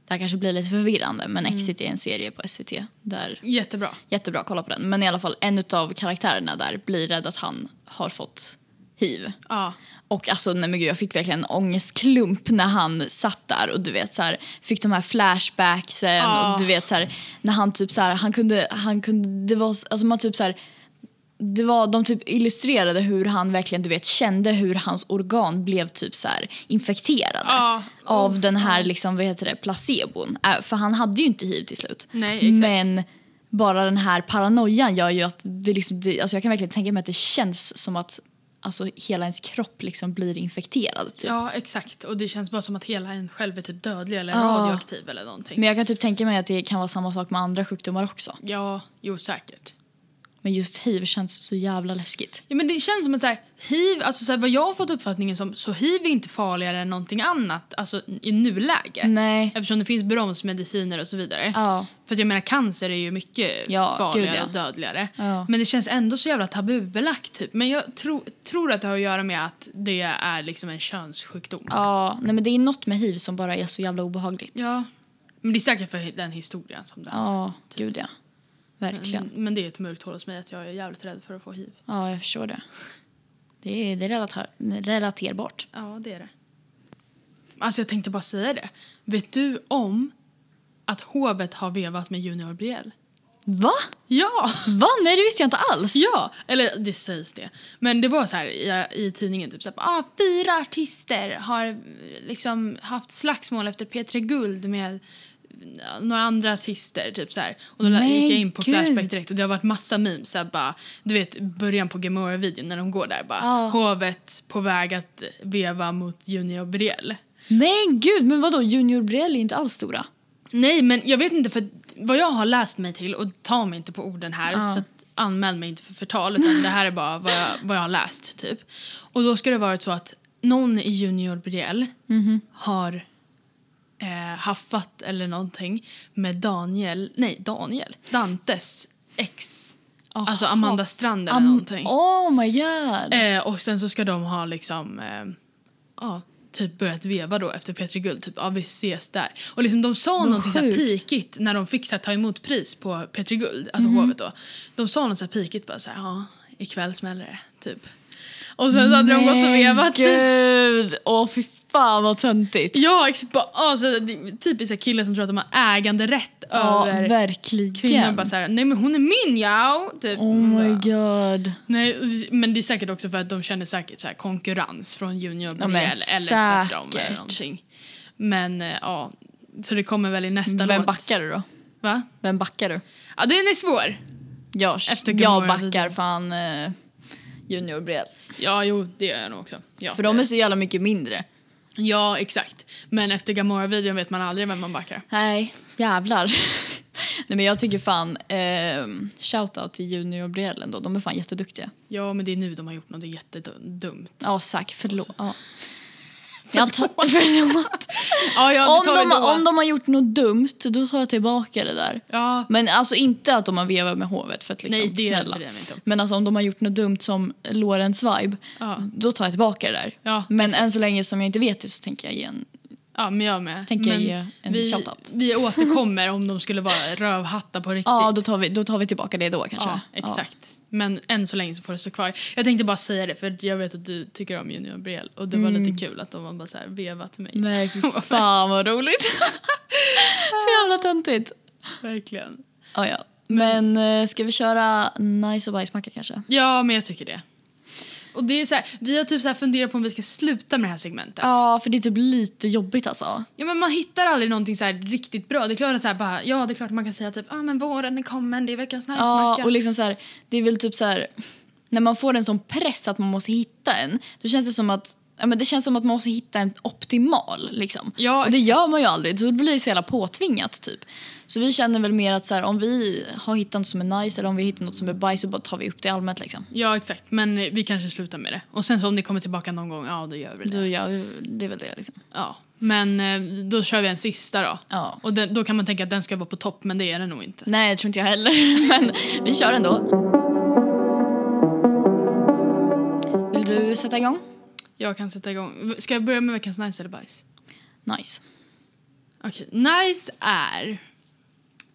[SPEAKER 2] Det här kanske blir lite förvirrande, men
[SPEAKER 1] Mm.
[SPEAKER 2] Exit är en serie på SVT. Där,
[SPEAKER 1] Jättebra.
[SPEAKER 2] jättebra, kolla på den. Men i alla fall, en av karaktärerna där blir rädd att han har fått hiv.
[SPEAKER 1] Ja.
[SPEAKER 2] Och alltså, nej men gud, jag fick verkligen en ångestklump när han satt där och du vet så här, fick de här flashbacksen
[SPEAKER 1] Ah.
[SPEAKER 2] och du vet så här, när han typ så här, han kunde, han kunde, det var, s- alltså man typ så här, det var, de typ illustrerade hur han verkligen, du vet, kände hur hans organ blev typ så här infekterade
[SPEAKER 1] Ja.
[SPEAKER 2] av den här liksom, vad heter det, placebon. Äh, För han hade ju inte hiv till slut.
[SPEAKER 1] Nej, exakt.
[SPEAKER 2] Men bara den här paranoian gör ju att det liksom, det, alltså jag kan verkligen tänka mig att det känns som att alltså, hela ens kropp liksom blir infekterad. Typ.
[SPEAKER 1] Ja exakt och det känns bara som att hela en själv är typ dödlig eller
[SPEAKER 2] Ja.
[SPEAKER 1] radioaktiv eller någonting.
[SPEAKER 2] Men jag kan typ tänka mig att det kan vara samma sak med andra sjukdomar också.
[SPEAKER 1] Ja, jo säkert.
[SPEAKER 2] Men just hiv känns så jävla läskigt.
[SPEAKER 1] Ja, men det känns som att så här, hiv, alltså så här, vad jag har fått uppfattningen som, så hiv är inte farligare än någonting annat alltså, i nuläget.
[SPEAKER 2] Nej.
[SPEAKER 1] Eftersom det finns bromsmediciner och så vidare.
[SPEAKER 2] Mm. Ja.
[SPEAKER 1] För att jag menar cancer är ju mycket
[SPEAKER 2] Ja,
[SPEAKER 1] farligare
[SPEAKER 2] gud, ja.
[SPEAKER 1] och dödligare.
[SPEAKER 2] Ja.
[SPEAKER 1] Men det känns ändå så jävla tabubelagt typ. Men jag tro, tror att det har att göra med att det är liksom en könssjukdom.
[SPEAKER 2] Ja, nej men det är något med hiv som bara är så jävla obehagligt.
[SPEAKER 1] Ja. Men det är säkert för den historien som det är. Mm,
[SPEAKER 2] Ja, gud ja. Verkligen.
[SPEAKER 1] Men, men det är ett mörkt hål hos mig att jag är jävligt rädd för att få hiv.
[SPEAKER 2] Ja, jag förstår det. Det är, det är relater- relaterbart.
[SPEAKER 1] Ja, det är det. Alltså jag tänkte bara säga det. Vet du om att hovet har vevat med Junior Brielle?
[SPEAKER 2] Va?
[SPEAKER 1] Ja!
[SPEAKER 2] Va? Nej, det visste jag inte alls.
[SPEAKER 1] Ja! Eller det sägs det. Men det var så här i, i tidningen typ så här, ah, fyra artister har eh, liksom haft slagsmål efter P3 Guld med eh, några andra artister typ så här. Och då la-
[SPEAKER 2] Men
[SPEAKER 1] gick jag in på
[SPEAKER 2] gud.
[SPEAKER 1] Flashback direkt och det har varit massa memes så här, bara, du vet början på Gamora-videon när de går där bara
[SPEAKER 2] Ja.
[SPEAKER 1] hovet på väg att veva mot Junior Brielle.
[SPEAKER 2] Men gud, men vadå? Junior Brielle är inte alls stora.
[SPEAKER 1] Nej, men jag vet inte för vad jag har läst mig till och ta mig inte på orden här
[SPEAKER 2] Ja.
[SPEAKER 1] så att anmäl mig inte för förtal utan det här är bara vad jag, vad jag har läst typ. Och då ska det varit så att någon i Junior BDL
[SPEAKER 2] Mhm.
[SPEAKER 1] har eh, haffat eller någonting med Daniel, nej Daniel, Dantes ex, alltså
[SPEAKER 2] Aha.
[SPEAKER 1] Amanda Strand eller
[SPEAKER 2] Am-
[SPEAKER 1] någonting.
[SPEAKER 2] Oh my god!
[SPEAKER 1] Eh, och sen så ska de ha liksom, eh, ja, typ börjat veva då efter Petri Guld. Typ, ja vi ses där. Och liksom de sa
[SPEAKER 2] Vad
[SPEAKER 1] någonting så här
[SPEAKER 2] sjukt.
[SPEAKER 1] pikigt när de fick så här, ta emot pris på Petri Guld, alltså
[SPEAKER 2] Mhm.
[SPEAKER 1] hovet då. De sa något så här pikigt bara så här, ja ikväll smäller det, typ. Och sen så hade de gått och vevat typ.
[SPEAKER 2] gud! Åh fy fan vad töntigt.
[SPEAKER 1] Ja, exakt. Bara, ja, så, här, det- typiskt så här killar som tror att de har äganderätt
[SPEAKER 2] Ja,
[SPEAKER 1] över
[SPEAKER 2] verkligen.
[SPEAKER 1] kvinnor. Bara så här, nej men hon är min ja. Typ.
[SPEAKER 2] oh
[SPEAKER 1] Man
[SPEAKER 2] my
[SPEAKER 1] bara,
[SPEAKER 2] god.
[SPEAKER 1] Nej, men det är säkert också för att de känner säkert så här konkurrens från junior
[SPEAKER 2] Ja,
[SPEAKER 1] BDL
[SPEAKER 2] men
[SPEAKER 1] eller tvärtom eller
[SPEAKER 2] säkert.
[SPEAKER 1] någonting. Men eh, ja, så det kommer väl i nästa
[SPEAKER 2] Vem
[SPEAKER 1] låt.
[SPEAKER 2] backar du då?
[SPEAKER 1] Va?
[SPEAKER 2] Vem backar du?
[SPEAKER 1] Ja, den är svår.
[SPEAKER 2] Jag,
[SPEAKER 1] Efter
[SPEAKER 2] jag
[SPEAKER 1] Gomorra
[SPEAKER 2] backar
[SPEAKER 1] Vidal.
[SPEAKER 2] fan eh, Junior Bred.
[SPEAKER 1] Ja, jo, det gör jag nog också. Ja,
[SPEAKER 2] För de är så jävla mycket mindre.
[SPEAKER 1] ja exakt. Men efter Gamora-videon vet man aldrig vem man backar.
[SPEAKER 2] Nej, jävlar. Nej men jag tycker fan, eh, shoutout till Junior och Brielle ändå. De är fan jätteduktiga.
[SPEAKER 1] Ja, men det är nu de har gjort något jättedumt.
[SPEAKER 2] Ja, Zack, förlåt. Ja. Jag tar, förlåt.
[SPEAKER 1] Ja, ja, det
[SPEAKER 2] Om,
[SPEAKER 1] tar vi
[SPEAKER 2] de,
[SPEAKER 1] då.
[SPEAKER 2] har- om de har gjort något dumt, då tar jag tillbaka det där.
[SPEAKER 1] Ja,
[SPEAKER 2] Men alltså inte att de har vevat med hovet, för att liksom,
[SPEAKER 1] nej, det
[SPEAKER 2] snälla.
[SPEAKER 1] bryr jag mig inte om.
[SPEAKER 2] Men alltså om de har gjort något dumt som Lorentz vibe,
[SPEAKER 1] Ja,
[SPEAKER 2] då tar jag tillbaka det där.
[SPEAKER 1] ja,
[SPEAKER 2] Men än så länge som jag inte vet det så tänker jag ge en,
[SPEAKER 1] ja men jag med.
[SPEAKER 2] tänker jag
[SPEAKER 1] Men
[SPEAKER 2] ge en
[SPEAKER 1] vi,
[SPEAKER 2] shoutout.
[SPEAKER 1] vi återkommer om de skulle vara rövhattar på riktigt.
[SPEAKER 2] Ja, då tar, vi, då tar vi tillbaka det då kanske.
[SPEAKER 1] Ja, exakt. Men än så länge så får det stå kvar. Jag tänkte bara säga det för jag vet att du tycker om Junior Briel och det var
[SPEAKER 2] Mm.
[SPEAKER 1] lite kul att de var bara så här vevat till mig.
[SPEAKER 2] Nej, fy fan vad roligt. så jävla töntigt. Mm.
[SPEAKER 1] Verkligen.
[SPEAKER 2] Ja, ja. Men eh, ska vi köra nice och bajsmacka kanske?
[SPEAKER 1] Ja, men jag tycker det. Och det är så här, vi har typ så här funderat på om vi ska sluta med det här segmentet.
[SPEAKER 2] Ja, för det är typ lite jobbigt alltså.
[SPEAKER 1] Ja, men man hittar aldrig någonting så här riktigt bra. Det är klart att så här bara, ja, det är klart att man kan säga typ, ah, men våren är kommen, det är veckans nice
[SPEAKER 2] Ja, och liksom så här, det är väl typ så här, när man får en sån press att man måste hitta en, då känns det som att Ja, men det känns som att man måste hitta en optimal. Liksom.
[SPEAKER 1] Ja,
[SPEAKER 2] och det gör man ju aldrig. Då blir det så jävla påtvingat. Typ. Så vi känner väl mer att så här, om vi har hittat något som är nice eller om vi hittar något som är bajs så bara tar vi upp det allmänt. Liksom.
[SPEAKER 1] Ja, exakt. Men eh, vi kanske slutar med det. Och sen så om ni kommer tillbaka någon gång, ja, då gör vi det.
[SPEAKER 2] Då gör vi, det är väl det. Liksom.
[SPEAKER 1] Ja. Men eh, då kör vi en sista då.
[SPEAKER 2] Ja.
[SPEAKER 1] Och den, då kan man tänka att den ska vara på topp, men det är den nog inte.
[SPEAKER 2] Nej, jag tror inte jag heller. Men vi kör ändå. Vill du sätta igång?
[SPEAKER 1] Jag kan sätta igång. Ska jag börja med veckans nice eller bajs?
[SPEAKER 2] Nice.
[SPEAKER 1] Okej, nice är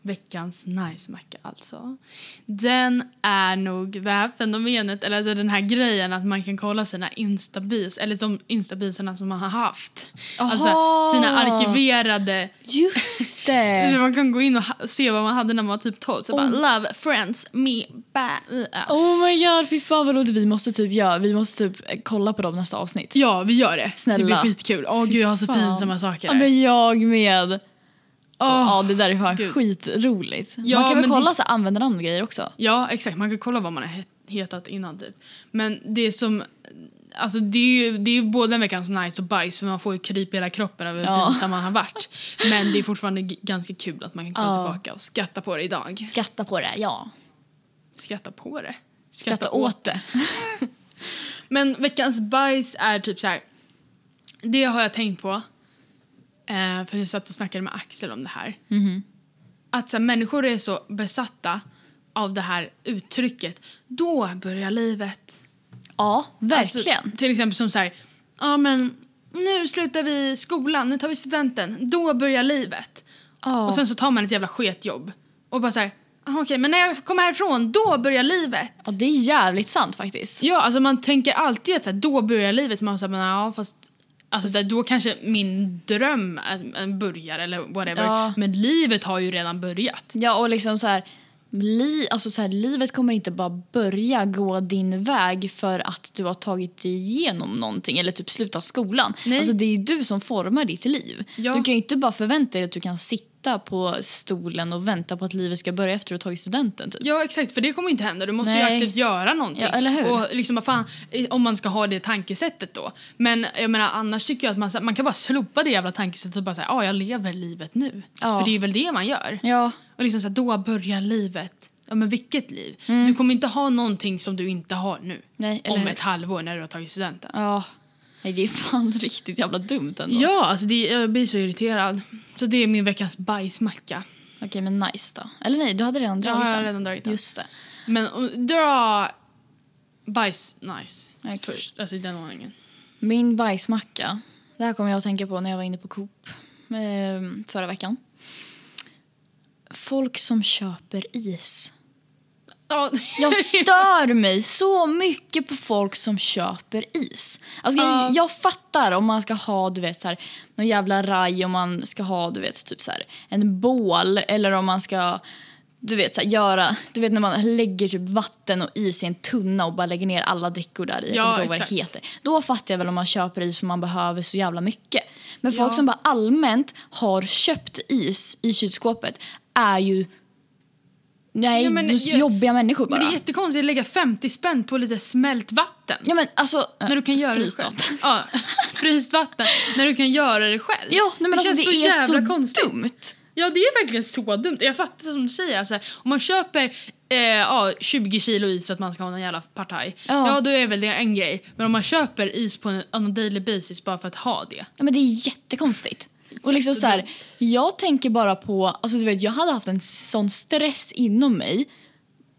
[SPEAKER 1] veckans nice-macka alltså. Den är nog det här fenomenet, eller alltså den här grejen att man kan kolla sina instabios, eller de instabioserna som man har haft. Alltså
[SPEAKER 2] Aha! Eh.
[SPEAKER 1] sina arkiverade,
[SPEAKER 2] Just
[SPEAKER 1] så
[SPEAKER 2] det!
[SPEAKER 1] man kan gå in och ha- se vad man hade när man var typ 12. Så bara love, friends, me, ba, ja.
[SPEAKER 2] Oh my god, fy fan vad roligt vi måste typ göra. Vi måste typ eh, kolla på dem nästa avsnitt.
[SPEAKER 1] ja, vi gör det. Det blir
[SPEAKER 2] Snälla.
[SPEAKER 1] skitkul. Åh
[SPEAKER 2] Fy
[SPEAKER 1] gud, jag har så
[SPEAKER 2] fan.
[SPEAKER 1] pinsamma saker
[SPEAKER 2] Ja,
[SPEAKER 1] där.
[SPEAKER 2] men jag med. ja, det där är fan
[SPEAKER 1] gud.
[SPEAKER 2] skitroligt.
[SPEAKER 1] Ja,
[SPEAKER 2] Man kan väl
[SPEAKER 1] men
[SPEAKER 2] kolla
[SPEAKER 1] det-
[SPEAKER 2] så här användarnamn och grejer också.
[SPEAKER 1] Ja, exakt. Man kan kolla vad man har het- hetat innan. Typ. Men det som... Alltså det är ju det är ju både en veckans nice och bajs för man får ju kryp i hela kroppen över hur
[SPEAKER 2] Ja.
[SPEAKER 1] pinsam man har varit. Men det är fortfarande g- ganska kul att man kan kolla
[SPEAKER 2] Ja.
[SPEAKER 1] tillbaka och skratta på det idag.
[SPEAKER 2] Skratta på det, ja.
[SPEAKER 1] Skratta på det?
[SPEAKER 2] Skratta, åt det.
[SPEAKER 1] Men veckans bajs är typ så här. Det har jag tänkt på. Eh, för jag satt och snackade med Axel om det här.
[SPEAKER 2] Mhm.
[SPEAKER 1] Att så här, människor är så besatta av det här uttrycket. Då börjar livet.
[SPEAKER 2] Ja, verkligen.
[SPEAKER 1] Alltså, till exempel som så här, ja men nu slutar vi skolan, nu tar vi studenten, då börjar livet.
[SPEAKER 2] ja.
[SPEAKER 1] Och sen så tar man ett jävla sketjobb och bara så här, "Ah, okej men när jag kommer härifrån, då börjar livet.
[SPEAKER 2] ja, det är jävligt sant faktiskt.
[SPEAKER 1] Ja, alltså man tänker alltid att så här, då börjar livet, man säger men ja fast Alltså så här, då kanske min dröm är- är börjar eller whatever.
[SPEAKER 2] Ja.
[SPEAKER 1] Men livet har ju redan börjat.
[SPEAKER 2] Ja, och liksom så här, li, alltså så här, livet kommer inte bara börja gå din väg för att du har tagit dig igenom någonting eller typ slutat skolan.
[SPEAKER 1] Nej.
[SPEAKER 2] Alltså, det är ju du som formar ditt liv.
[SPEAKER 1] Ja.
[SPEAKER 2] Du kan ju inte bara förvänta dig att du kan sitta sitta på stolen och vänta på att livet ska börja efter att du tagit studenten. Typ.
[SPEAKER 1] Ja exakt, för det kommer ju inte hända. Du måste ju
[SPEAKER 2] Nej.
[SPEAKER 1] aktivt göra någonting.
[SPEAKER 2] Ja, eller hur?
[SPEAKER 1] Och liksom, vad fan, eh, om man ska ha det tankesättet då. Men jag menar, annars tycker jag att man, så- man kan bara slopa det jävla tankesättet och bara säga ja, ah, jag lever livet nu.
[SPEAKER 2] Ja.
[SPEAKER 1] För det är väl det man gör.
[SPEAKER 2] Ja,
[SPEAKER 1] Och liksom så här, då börjar livet. Ja, men vilket liv? Du kommer inte ha någonting som du inte har nu.
[SPEAKER 2] Mm. nej, eller
[SPEAKER 1] Om
[SPEAKER 2] hur?
[SPEAKER 1] ett halvår när du har tagit studenten.
[SPEAKER 2] Ja. Nej, det är fan riktigt jävla dumt ändå.
[SPEAKER 1] Ja, alltså det, jag blir så irriterad. Så det är min veckans bajsmacka.
[SPEAKER 2] Okej, men nice då. Eller nej, du hade redan
[SPEAKER 1] Ja,
[SPEAKER 2] dragit
[SPEAKER 1] jag har
[SPEAKER 2] den.
[SPEAKER 1] redan dragit den.
[SPEAKER 2] Just det.
[SPEAKER 1] Men om- dra bajs nice
[SPEAKER 2] Okej.
[SPEAKER 1] först. Alltså i den ordningen.
[SPEAKER 2] Min bajsmacka. Det här kommer jag att tänka på när jag var inne på Coop ehm, förra veckan. Folk som köper is.
[SPEAKER 1] Ja,
[SPEAKER 2] Jag stör mig så mycket på folk som köper is. Alltså,
[SPEAKER 1] Ja.
[SPEAKER 2] jag, jag fattar om man ska ha du vet, så här, någon jävla raj, om man ska ha du vet, typ, så här, en bål eller om man ska du vet, så här, göra, du vet när man lägger typ vatten och is i en tunna och bara lägger ner alla drickor där i. Jag
[SPEAKER 1] Ja,
[SPEAKER 2] kommer inte ihåg vad det
[SPEAKER 1] exakt.
[SPEAKER 2] heter. Då fattar jag väl om man köper is för man behöver så jävla mycket. Men folk
[SPEAKER 1] Ja.
[SPEAKER 2] som bara allmänt har köpt is i kylskåpet är ju Nej,
[SPEAKER 1] Ja, men
[SPEAKER 2] du är
[SPEAKER 1] jag-
[SPEAKER 2] så jobbiga människor bara.
[SPEAKER 1] Men det är jättekonstigt att lägga 50 spänn på lite smält vatten.
[SPEAKER 2] Ja men alltså...
[SPEAKER 1] När du kan göra
[SPEAKER 2] Fryst
[SPEAKER 1] det själv.
[SPEAKER 2] vatten.
[SPEAKER 1] Ja, fryst vatten. När du kan göra det själv.
[SPEAKER 2] Ja, nej, men
[SPEAKER 1] det
[SPEAKER 2] alltså,
[SPEAKER 1] känns
[SPEAKER 2] det
[SPEAKER 1] så
[SPEAKER 2] är
[SPEAKER 1] jävla
[SPEAKER 2] så
[SPEAKER 1] konstigt.
[SPEAKER 2] dumt.
[SPEAKER 1] Ja, det är verkligen så dumt. Jag fattar som du säger. Alltså, om man köper eh, ja, 20 kilo is för att man ska ha någon jävla partaj.
[SPEAKER 2] Ja.
[SPEAKER 1] ja, då är väl det en grej. Men om man köper is på en on a daily basis bara för att ha det.
[SPEAKER 2] Ja, men det är jättekonstigt. Och liksom så här, jag tänker bara på, alltså du vet jag hade haft en sån stress inom mig.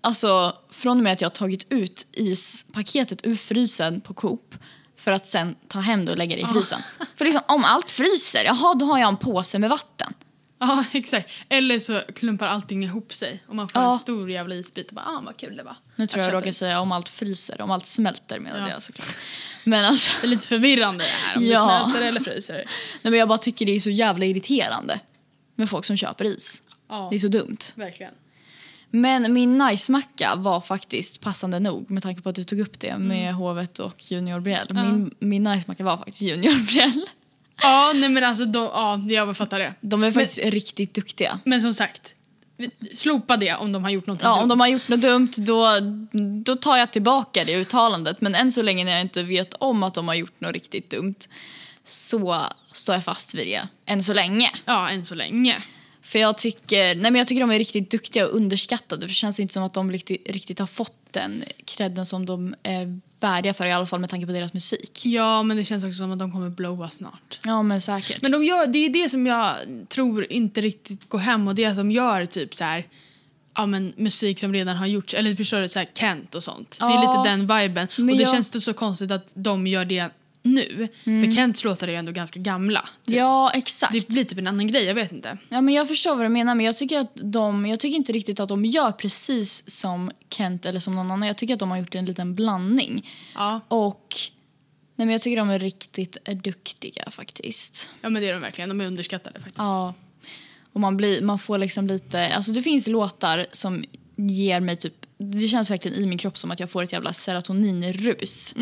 [SPEAKER 2] Alltså från och med att jag tagit ut ispaketet ur frysen på Coop för att sen ta hem det och lägga det i frysen. För liksom om allt fryser, jaha då har jag en påse med vatten.
[SPEAKER 1] Ja, exakt. Eller så klumpar allting ihop sig och man får
[SPEAKER 2] Ja.
[SPEAKER 1] en stor jävla isbit och bara, ah, vad kul det var.
[SPEAKER 2] Nu tror
[SPEAKER 1] att
[SPEAKER 2] jag jag
[SPEAKER 1] köpa
[SPEAKER 2] råkar
[SPEAKER 1] is.
[SPEAKER 2] säga om allt fryser, om allt smälter menade
[SPEAKER 1] Ja.
[SPEAKER 2] jag såklart. Men alltså,
[SPEAKER 1] Det är lite förvirrande det här om
[SPEAKER 2] Ja.
[SPEAKER 1] det smälter eller fryser.
[SPEAKER 2] nej, men jag bara tycker det är så jävla irriterande med folk som köper is.
[SPEAKER 1] Ja,
[SPEAKER 2] Det är så dumt.
[SPEAKER 1] verkligen.
[SPEAKER 2] Men min nice-macka var faktiskt passande nog med tanke på att du tog upp det med hovet och Junior Briell. Min, min nice-macka var faktiskt Junior Briell.
[SPEAKER 1] Ja, nej men alltså, då, ja, jag fattar det.
[SPEAKER 2] De är faktiskt riktigt duktiga.
[SPEAKER 1] Men som sagt, vi- slopa det om de har gjort någonting
[SPEAKER 2] Ja, om
[SPEAKER 1] dumt.
[SPEAKER 2] de har gjort något dumt då, då tar jag tillbaka det uttalandet. Men än så länge när jag inte vet om att de har gjort något riktigt dumt så står jag fast vid det. Än så länge.
[SPEAKER 1] Ja, än så länge.
[SPEAKER 2] För jag tycker, nej men jag tycker de är riktigt duktiga och underskattade. För det känns inte som att de riktigt, riktigt har fått den credden som de är värdiga för. I alla fall med tanke på deras musik.
[SPEAKER 1] Ja, men det känns också som att de kommer blowa snart.
[SPEAKER 2] Ja, men säkert.
[SPEAKER 1] Men de gör, det är det som jag tror inte riktigt går hem och det är att de gör typ så här Ja men musik som redan har gjorts, eller förstår du, så här Kent och sånt. Det är
[SPEAKER 2] Ja.
[SPEAKER 1] lite den viben.
[SPEAKER 2] Men
[SPEAKER 1] och det
[SPEAKER 2] jag-
[SPEAKER 1] känns det så konstigt att de gör det nu. För Kents låtar är ju ändå ganska gamla.
[SPEAKER 2] ja, exakt.
[SPEAKER 1] Det blir typ en annan grej, jag vet inte.
[SPEAKER 2] Ja, men jag förstår vad du menar, men jag tycker, att de, jag tycker inte riktigt att de gör precis som Kent eller som någon annan. Jag tycker att de har gjort en liten blandning.
[SPEAKER 1] Ja,
[SPEAKER 2] Och nej, men jag tycker de är riktigt eh, duktiga faktiskt.
[SPEAKER 1] ja men det är de verkligen, de är underskattade faktiskt.
[SPEAKER 2] Ja. Och man, blir, man får liksom lite... Alltså det finns låtar som ger mig typ... Det känns verkligen i min kropp som att jag får ett jävla serotoninrus.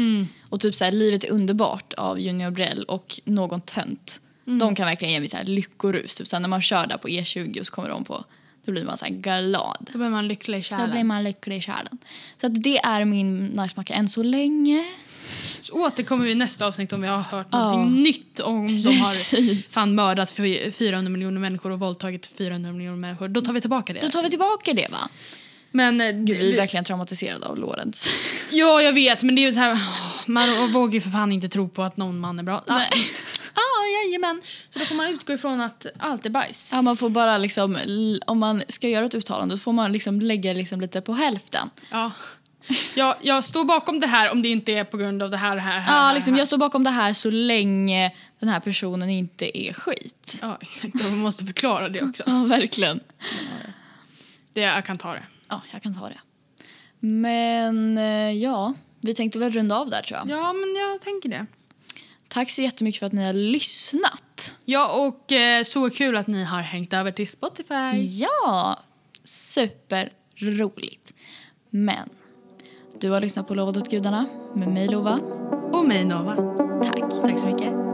[SPEAKER 2] Och typ så här, Livet är underbart av Junior Brell och Någon tönt. De kan verkligen ge mig så här lyckorus. Typ så här, när man kör där på E20 och så kommer de på... Då blir man så här glad.
[SPEAKER 1] Då blir man lycklig i
[SPEAKER 2] Då blir
[SPEAKER 1] kärlen.
[SPEAKER 2] man lycklig i själen. Så att det är min nice-macka än så länge.
[SPEAKER 1] Så återkommer vi i nästa avsnitt om vi har hört
[SPEAKER 2] Ja.
[SPEAKER 1] någonting nytt om de har
[SPEAKER 2] Precis.
[SPEAKER 1] fan mördat fy- 400 miljoner människor och våldtagit 400 miljoner människor. Då tar vi tillbaka det.
[SPEAKER 2] Då tar vi tillbaka det, va?
[SPEAKER 1] Men eh,
[SPEAKER 2] Gud, vi är
[SPEAKER 1] vi-
[SPEAKER 2] verkligen traumatiserade av Lorentz.
[SPEAKER 1] Ja, jag vet, men det är ju så här... åh, Man vågar ju för fan inte tro på att någon man är bra. Ja.
[SPEAKER 2] Nej.
[SPEAKER 1] Ah, jajamän. Så då får man utgå ifrån att allt är bajs.
[SPEAKER 2] Ja, man får bara liksom, l- om man ska göra ett uttalande så får man liksom lägga liksom lite på hälften.
[SPEAKER 1] Ja. Jag, jag står bakom det här om det inte är på grund av det här, det här, det här.
[SPEAKER 2] Ja,
[SPEAKER 1] det
[SPEAKER 2] liksom,
[SPEAKER 1] här.
[SPEAKER 2] jag står bakom det här så länge den här personen inte är skit.
[SPEAKER 1] Ja, exakt. Man måste förklara det också.
[SPEAKER 2] Ja, verkligen.
[SPEAKER 1] Det, jag kan ta det.
[SPEAKER 2] Ja, jag kan ta det. Men eh, ja, vi tänkte väl runda av där tror jag.
[SPEAKER 1] Ja, men jag tänker det.
[SPEAKER 2] Tack så jättemycket för att ni har lyssnat.
[SPEAKER 1] Ja, och eh, så kul att ni har hängt över till Spotify.
[SPEAKER 2] Mm. Ja, superroligt. Men du har lyssnat på Lovad åt gudarna med mig Lova.
[SPEAKER 1] Och mig, Nova.
[SPEAKER 2] Tack.
[SPEAKER 1] Tack så mycket.